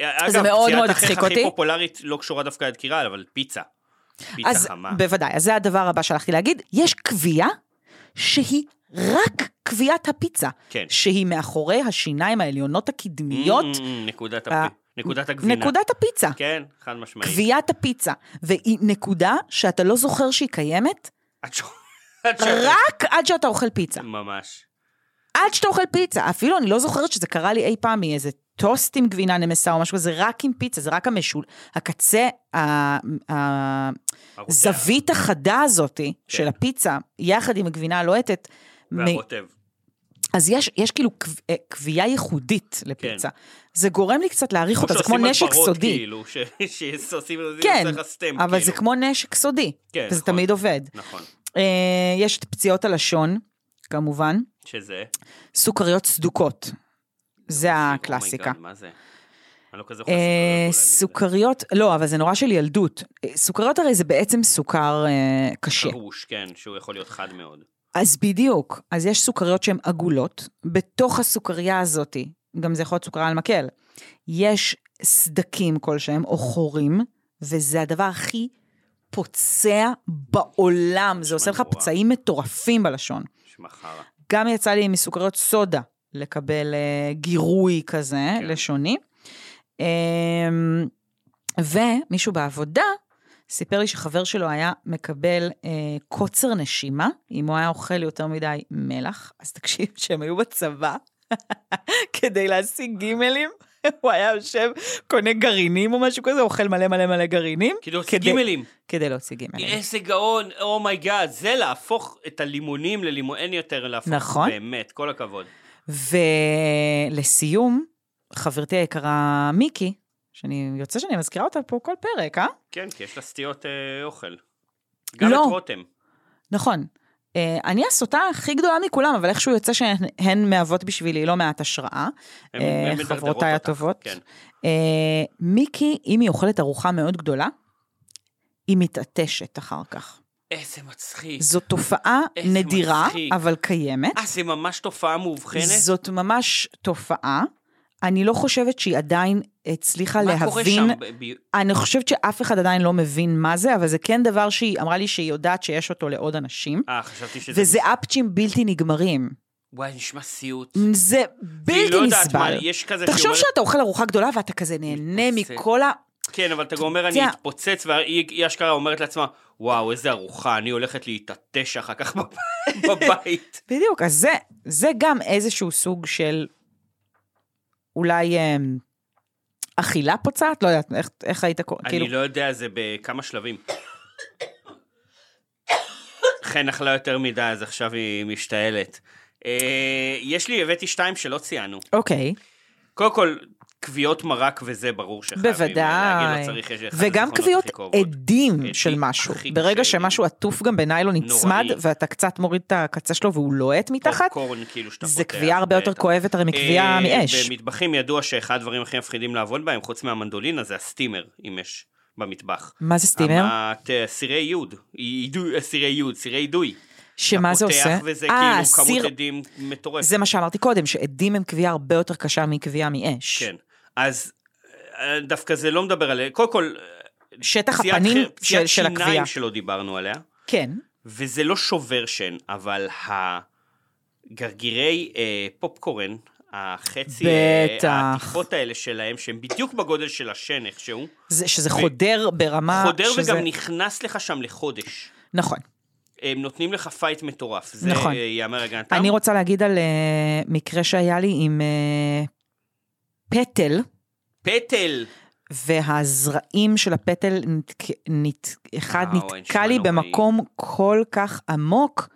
Speaker 2: אה, אגב,
Speaker 1: זה מאוד
Speaker 2: פציעת
Speaker 1: מאוד
Speaker 2: החך
Speaker 1: הצחיק
Speaker 2: הכי
Speaker 1: אותי.
Speaker 2: פופולרית לא קשורה דווקא לדקירה, אבל פיצה.
Speaker 1: אז
Speaker 2: פיצה חמה.
Speaker 1: בוודאי, אז זה הדבר הבא שהלכתי להגיד. יש קביעה שהיא רק קביעת הפיצה.
Speaker 2: כן.
Speaker 1: שהיא מאחורי השיניים העליונות הקדמיות,
Speaker 2: Mm, mm, נקודת
Speaker 1: ה-
Speaker 2: הפי. נקודת הגבינה.
Speaker 1: אה, נקודת הפיצה.
Speaker 2: כן, חד משמעית.
Speaker 1: קביעת הפיצה. והיא נקודה שאתה לא זוכר שהיא קיימת,
Speaker 2: עד ש- עד ש-
Speaker 1: רק עד שאתה אוכל פיצה.
Speaker 2: ממש.
Speaker 1: עד שאתה אוכל פיצה. אפילו אני לא זוכרת שזה קרה לי אי פעם מאיזה טוסט עם גבינה נמסה או משהו כזה, זה רק עם פיצה, זה רק המשול, הקצה, ה- ה-
Speaker 2: הרותח
Speaker 1: הזווית
Speaker 2: אוקיי.
Speaker 1: החדה
Speaker 2: כן.
Speaker 1: הזאתי של הפיצה, יחד עם הגבינה הלוהטת, מ-
Speaker 2: והרוטב.
Speaker 1: אז יש, יש כאילו קב- אה, קביעה ייחודית לפיצה. זה גורם לי קצת להעריך אותה, זה כמו
Speaker 2: כן. לא שעושים
Speaker 1: נשק
Speaker 2: הדברות,
Speaker 1: סודי.
Speaker 2: כאילו, ש- שעושים את זה,
Speaker 1: כן,
Speaker 2: צריך הסטמפ,
Speaker 1: אבל זה
Speaker 2: כאילו.
Speaker 1: כמו נשק סודי,
Speaker 2: כן,
Speaker 1: וזה
Speaker 2: נכון.
Speaker 1: תמיד עובד.
Speaker 2: נכון,
Speaker 1: אה, יש את פציעות הלשון, כמובן,
Speaker 2: שזה...
Speaker 1: סוכריות סדוקות. זה הקלאסיקה.
Speaker 2: אומייגאד, מה זה? אני לא כזה
Speaker 1: אה,
Speaker 2: אוכל סוכריות, אולי
Speaker 1: סוכריות, לא, אבל זה נורא של ילדות. אה, סוכריות הרי זה בעצם סוכר אה, קשה.
Speaker 2: בגלל זה. חרוש, כן, שהוא יכול להיות חד מאוד.
Speaker 1: אז בדיוק, אז יש סוכריות שהן עגולות, בתוך הסוכריה הזאת, גם זה יכול להיות סוכריה על מקל, יש סדקים כלשהם, או חורים, וזה הדבר הכי פוצע בעולם, זה עושה לך
Speaker 2: נורא.
Speaker 1: פצעים מטורפים בלשון.
Speaker 2: שמע חרא.
Speaker 1: גם יצא לי מסוכריות סודה לקבל אה, גירוי כזה,
Speaker 2: כן.
Speaker 1: לשוני. אמ, ומישהו בעבודה סיפר לי שחבר שלו היה מקבל אה, קוצר נשימה, אם הוא היה אוכל יותר מדי מלח, אז תקשיב, שהם היו בצבא כדי להשיג גימלים. הוא היה יושב, קונה גרעינים או משהו כזה, אוכל מלא מלא מלא גרעינים.
Speaker 2: כאילו, עושים
Speaker 1: כדי-
Speaker 2: גימלים.
Speaker 1: כדי להוציא גימלים.
Speaker 2: איזה גאון, אומייגאד, oh זה להפוך את הלימונים ללימון, אין יותר להפוך.
Speaker 1: נכון.
Speaker 2: באמת, כל הכבוד.
Speaker 1: ולסיום, חברתי היקרה מיקי, שאני יוצא שאני מזכירה אותה פה כל פרק, אה?
Speaker 2: כן, כי יש לה סטיות אה, אוכל. גם
Speaker 1: לא.
Speaker 2: את רותם.
Speaker 1: נכון. אה, אני הסוטה הכי גדולה מכולם, אבל איכשהו יוצא שהן הן מהוות בשבילי לא מעט השראה.
Speaker 2: הם-
Speaker 1: אה,
Speaker 2: הם מדרדרות
Speaker 1: חברותיי
Speaker 2: אותך,
Speaker 1: הטובות.
Speaker 2: כן.
Speaker 1: אה, מיקי, אם היא אוכלת ארוחה מאוד גדולה, היא מתעטשת אחר כך.
Speaker 2: איזה מצחיק.
Speaker 1: זו תופעה
Speaker 2: איזה
Speaker 1: נדירה,
Speaker 2: מצחיק.
Speaker 1: אבל קיימת.
Speaker 2: אה, זה ממש תופעה מאובחנת?
Speaker 1: זאת ממש תופעה. אני לא חושבת שהיא עדיין הצליחה
Speaker 2: מה קורה
Speaker 1: להבין
Speaker 2: שם? ב- ב-
Speaker 1: אני חושבת שאף אחד עדיין לא מבין מה זה, אבל זה כן דבר שהיא אמרה לי שהיא יודעת שיש אותו לעוד אנשים,
Speaker 2: אה, חשבתי שזה...
Speaker 1: וזה אפצ'ים בלתי נגמרים.
Speaker 2: וואי, נשמע סיוט.
Speaker 1: זה
Speaker 2: והיא
Speaker 1: בלתי
Speaker 2: לא יודעת מה,
Speaker 1: נסבל.
Speaker 2: יש כזה שהיא
Speaker 1: תחשוב
Speaker 2: אומרת-
Speaker 1: שאתה אוכל ארוחה גדולה ואתה כזה נהנה
Speaker 2: מתפוצץ.
Speaker 1: מכל ה...
Speaker 2: כן, אבל אתה גם אומר, אני
Speaker 1: יודע-
Speaker 2: אתפוצץ, והיא היא אשכרה אומרת לעצמה, וואו, איזה ארוחה, אני הולכת להתעטש אחר כך בב- בבית.
Speaker 1: בדיוק, אז זה, זה גם איזשהו סוג של אולי אה, אכילה פוצעת, לא יודעת, איך, איך היית קורא, כאילו,
Speaker 2: אני לא יודע, זה בכמה שלבים. חן אכלה יותר מדי, אז עכשיו היא משתעלת. אה, יש לי, הבאתי שתיים שלא ציינו.
Speaker 1: אוקיי,
Speaker 2: קודם כל, כביעות מרק וזה ברור שחייבים אה, להגיד,
Speaker 1: בוודאי.
Speaker 2: לא צריך, יש לי אחד
Speaker 1: וגם
Speaker 2: הזיכרונות
Speaker 1: כוויות
Speaker 2: הכי כאובות.
Speaker 1: עדים
Speaker 2: עדים
Speaker 1: של משהו.
Speaker 2: הכי
Speaker 1: ברגע
Speaker 2: קשים.
Speaker 1: שמשהו עטוף גם בניילון נצמד,
Speaker 2: נוראי.
Speaker 1: ואתה קצת מוריד את הקצה שלו והוא לוהט מתחת,
Speaker 2: פופקורן, כאילו שאתה
Speaker 1: זה
Speaker 2: פותח,
Speaker 1: כוויה הרבה יותר
Speaker 2: בטח.
Speaker 1: כואבת הרי מכוויה
Speaker 2: אה,
Speaker 1: מאש.
Speaker 2: במטבחים ידוע שאחד הדברים הכי מפחידים לעבוד בהם, חוץ מהמנדולינה, זה הסטימר, אם יש במטבח.
Speaker 1: מה זה סטימר?
Speaker 2: המת- אה, סירי יוד, אידוי- אה, סירי יוד, סירי אידוי.
Speaker 1: שמה זה עושה?
Speaker 2: פותח וזה
Speaker 1: אה,
Speaker 2: כאילו
Speaker 1: סיר-
Speaker 2: כמות עדים מטורפת.
Speaker 1: זה מה שאמרתי קודם, שעדים הם כוויה הרבה יותר קשה מכוויה מאש.
Speaker 2: כן. אז אה, דווקא זה לא מדבר על... קודם כל... אה,
Speaker 1: שטח
Speaker 2: פציעת
Speaker 1: הפנים
Speaker 2: חי-
Speaker 1: של- של
Speaker 2: פציעת
Speaker 1: הכוויה.
Speaker 2: שיניים שלא דיברנו עליה.
Speaker 1: כן.
Speaker 2: וזה לא שובר שן, אבל הגרגירי אה, פופקורן, החצי,
Speaker 1: בטח.
Speaker 2: אה, העטיפות האלה שלהם, שהם בדיוק בגודל של השן איכשהו,
Speaker 1: זה- שזה חודר ברמה...
Speaker 2: חודר
Speaker 1: שזה-
Speaker 2: וגם נכנס לך שם לחודש.
Speaker 1: נכון.
Speaker 2: הם נותנים לך פייט מטורף, זה
Speaker 1: נכון.
Speaker 2: אה, יאמר הגנתם.
Speaker 1: אני רוצה להגיד על אה, מקרה שהיה לי עם אה, פטל.
Speaker 2: פטל!
Speaker 1: והזרעים של הפטל, נתק... נת... אחד
Speaker 2: וואו, אין
Speaker 1: נתקע לי
Speaker 2: נשמע נוראי.
Speaker 1: במקום כל כך עמוק.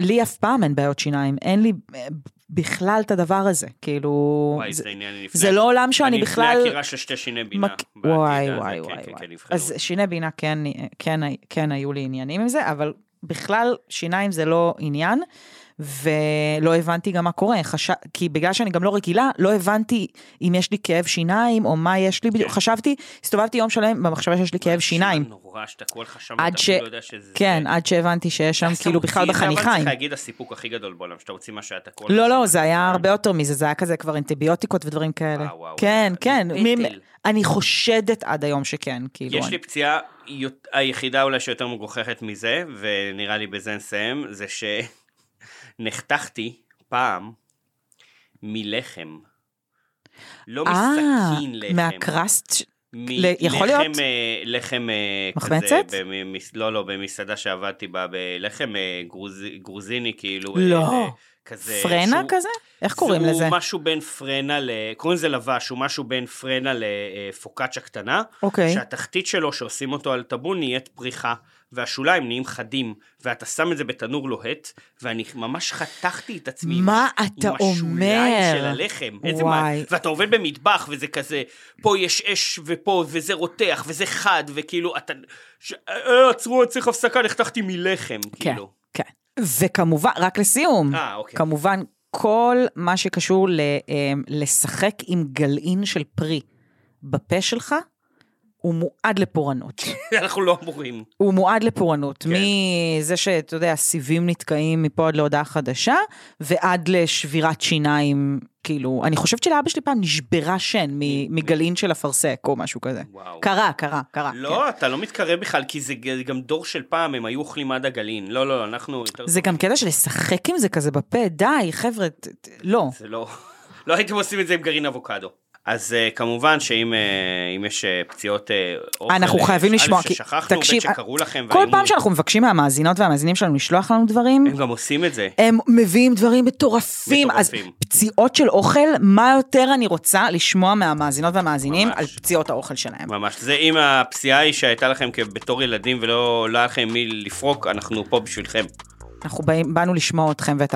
Speaker 1: לי אף פעם אין בעיות שיניים, אין לי אה, בכלל את הדבר הזה, כאילו...
Speaker 2: וואי,
Speaker 1: זה...
Speaker 2: זה עניין אני לפני...
Speaker 1: זה לא עולם שאני
Speaker 2: אני
Speaker 1: בכלל...
Speaker 2: לפני עקירה של שתי שיני בינה.
Speaker 1: מק-
Speaker 2: בעתיד,
Speaker 1: וואי,
Speaker 2: אז
Speaker 1: וואי,
Speaker 2: כן,
Speaker 1: וואי.
Speaker 2: כן,
Speaker 1: וואי.
Speaker 2: כן, יבחנו.
Speaker 1: אז שיני בינה כן, כן, כן היו לי עניינים עם זה, אבל בכלל שיניים זה לא עניין, ולא הבנתי גם מה קורה, חש... כי בגלל שאני גם לא רגילה, לא הבנתי אם יש לי כאב שיניים או מה יש לי
Speaker 2: כן.
Speaker 1: בדיוק, חשבתי, הסתובבתי יום שלם במחשבה שיש לי כאב שיניים.
Speaker 2: נשמע כאילו נורא שתקעו לך שם,
Speaker 1: עד
Speaker 2: אתה
Speaker 1: ש...
Speaker 2: אפילו לא יודע שזה...
Speaker 1: כן, עד שהבנתי שיש שם
Speaker 2: ואז אתה
Speaker 1: כאילו
Speaker 2: מוציא
Speaker 1: בכלל
Speaker 2: את זה, אבל צריך
Speaker 1: בחניכיים.
Speaker 2: להגיד הסיפוק הכי גדול בעולם, שאתה מוציא מה שהיה תקוע.
Speaker 1: לא,
Speaker 2: לך
Speaker 1: לא,
Speaker 2: שם.
Speaker 1: זה היה הרבה יותר מזה, זה היה כזה כבר אנטיביוטיקות ודברים כאלה.
Speaker 2: אה, וואו, וואו,
Speaker 1: כן,
Speaker 2: זה-
Speaker 1: כן,
Speaker 2: זה
Speaker 1: מי-
Speaker 2: פטל.
Speaker 1: אני חושדת עד היום שכן, כאילו.
Speaker 2: יש
Speaker 1: אני-
Speaker 2: לי פציעה יות- היחידה אולי שיותר מגוחכת מזה, ונראה לי בזה נסיים, זה שנחתכתי פעם מלחם. לא מסכין
Speaker 1: אה,
Speaker 2: לחם.
Speaker 1: מהקראסט? ש-
Speaker 2: מ-
Speaker 1: ל- יכול
Speaker 2: לחם,
Speaker 1: להיות?
Speaker 2: אה, לחם אה,
Speaker 1: מחמצת?
Speaker 2: כזה, במ- לא, לא, במסעדה שעבדתי בה, בלחם אה, גרוז- גרוזיני, כאילו.
Speaker 1: לא.
Speaker 2: אה, כזה
Speaker 1: פרנה
Speaker 2: שהוא-
Speaker 1: כזה? איך קוראים
Speaker 2: זה
Speaker 1: לזה?
Speaker 2: הוא משהו בין פרנה ל... קוראים לזה לבש, הוא משהו בין פרנה לפוקאצ'ה קטנה.
Speaker 1: אוקיי.
Speaker 2: שהתחתית שלו, שעושים אותו על טבון, נהיית פריחה, והשוליים נהיים חדים, ואתה שם את זה בתנור לוהט, ואני ממש חתכתי את עצמי. עם
Speaker 1: מה
Speaker 2: הש-
Speaker 1: אתה
Speaker 2: עם השוליים
Speaker 1: אומר?
Speaker 2: של הלחם. איזה
Speaker 1: וואי.
Speaker 2: מה... ואתה עובד במטבח, וזה כזה, פה יש אש, ופה, וזה רותח, וזה חד, וכאילו, אתה... ש... אה, עצרו, צריך הפסקה, נחתכתי מלחם,
Speaker 1: כן,
Speaker 2: כאילו.
Speaker 1: כן. וכמובן, רק לסיום,
Speaker 2: אה, אוקיי.
Speaker 1: כמובן, כל מה שקשור ל- אמ, לשחק עם גלעין של פרי בפה שלך, הוא מועד לפורענות.
Speaker 2: אנחנו לא אמורים.
Speaker 1: הוא מועד לפורענות.
Speaker 2: כן.
Speaker 1: מזה שאתה יודע, סיבים נתקעים מפה עד להודעה חדשה, ועד לשבירת שיניים, כאילו, אני חושבת שלאבא שלי פעם נשברה שן מ- מגלעין של אפרסק או משהו כזה.
Speaker 2: וואו.
Speaker 1: קרה, קרה, קרה. כן.
Speaker 2: לא, אתה לא מתקרב בכלל, כי זה ג- גם דור של פעם, הם היו אוכלים עד הגלעין. לא, לא, אנחנו יותר...
Speaker 1: כן. זה גם קטע של לשחק עם זה כזה בפה, די, חבר'ה, ת- ת- לא.
Speaker 2: זה לא... לא הייתם עושים את זה עם גרעין אבוקדו. אז אה, כמובן שאם אה, אם יש אה, פציעות אה, אוכל,
Speaker 1: אנחנו
Speaker 2: אה,
Speaker 1: חייבים
Speaker 2: א',
Speaker 1: לשמוע, כי
Speaker 2: ששכחנו, ב',
Speaker 1: תקשיב, אה,
Speaker 2: שקראו לכם,
Speaker 1: כל
Speaker 2: והאם
Speaker 1: פעם
Speaker 2: הוא-
Speaker 1: שאנחנו מבקשים מהמאזינות והמאזינים שלנו לשלוח לנו דברים,
Speaker 2: הם גם עושים את זה.
Speaker 1: הם מביאים דברים מטורפים, אז
Speaker 2: מטורפים.
Speaker 1: פציעות של אוכל, מה יותר אני רוצה לשמוע מהמאזינות והמאזינים
Speaker 2: ממש.
Speaker 1: על פציעות האוכל שלהם.
Speaker 2: ממש. זה אם הפציעה היא שהייתה לכם כ- בתור ילדים ולא לא היה לכם מי לפרוק, אנחנו פה בשבילכם.
Speaker 1: אנחנו באים- באנו לשמוע אתכם ואת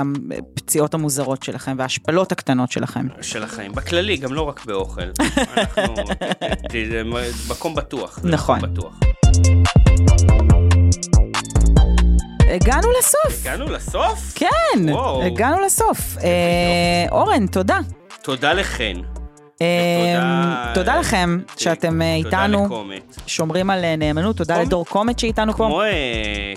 Speaker 1: הפציעות המוזרות שלכם וההשפלות הקטנות שלכם.
Speaker 2: של החיים. בכללי, גם לא רק באוכל. אנחנו... ת- זה מ- מקום בטוח. זה
Speaker 1: נכון.
Speaker 2: מקום בטוח.
Speaker 1: הגענו לסוף.
Speaker 2: הגענו לסוף?
Speaker 1: כן,
Speaker 2: וואו.
Speaker 1: הגענו לסוף. אה, אורן, תודה.
Speaker 2: תודה לכן.
Speaker 1: אה, תודה לכם שאתם אה,
Speaker 2: תודה
Speaker 1: איתנו,
Speaker 2: לקומט.
Speaker 1: שומרים על אה, נאמנות, תודה
Speaker 2: קומט?
Speaker 1: לדור קומט שאיתנו פה.
Speaker 2: כמו אה,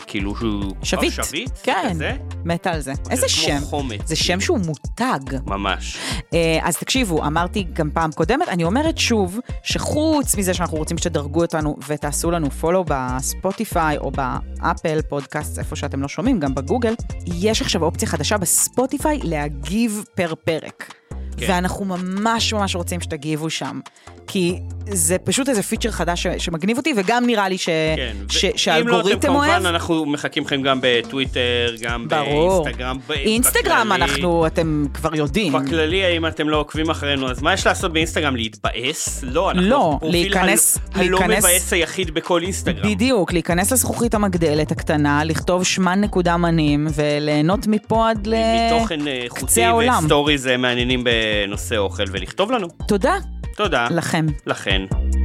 Speaker 2: כאילו שהוא...
Speaker 1: שביט,
Speaker 2: שביט?
Speaker 1: כן,
Speaker 2: כזה?
Speaker 1: מתה על זה. איזה
Speaker 2: כמו
Speaker 1: שם,
Speaker 2: חומץ,
Speaker 1: זה שם
Speaker 2: כאילו.
Speaker 1: שהוא מותג.
Speaker 2: ממש.
Speaker 1: אה, אז תקשיבו, אמרתי גם פעם קודמת, אני אומרת שוב, שחוץ מזה שאנחנו רוצים שתדרגו אותנו ותעשו לנו פולו בספוטיפיי או באפל פודקאסט, איפה שאתם לא שומעים, גם בגוגל, יש עכשיו אופציה חדשה בספוטיפיי להגיב פר פרק. כן. ואנחנו ממש ממש רוצים שתגיבו שם, כי זה פשוט איזה פיצ'ר חדש ש- שמגניב אותי, וגם נראה לי ש...
Speaker 2: כן. ו-
Speaker 1: ש...
Speaker 2: אם לא, אתם
Speaker 1: שהאלגוריתם אוהב.
Speaker 2: כמובן, אנחנו מחכים לכם גם בטוויטר, גם
Speaker 1: ברור.
Speaker 2: באינסטגרם. ב-
Speaker 1: אינסטגרם
Speaker 2: בכללי.
Speaker 1: אנחנו, אתם כבר יודעים.
Speaker 2: בכללי, אם אתם לא עוקבים אחרינו, אז מה יש לעשות באינסטגרם? להתבאס? לא, אנחנו
Speaker 1: לא,
Speaker 2: הפרופיל
Speaker 1: להיכנס-
Speaker 2: הל- הלא
Speaker 1: להיכנס-
Speaker 2: מבאס היחיד בכל אינסטגרם.
Speaker 1: בדיוק, להיכנס לזכוכית המגדלת הקטנה, לכתוב שמן נקודה מנים, וליהנות מפה עד ל...
Speaker 2: מתוכן אה, חוטי
Speaker 1: העולם.
Speaker 2: וסטוריז אה, מעניינים בנושא אוכל, ולכתוב לנו.
Speaker 1: תודה
Speaker 2: תודה
Speaker 1: לכם.
Speaker 2: לכן.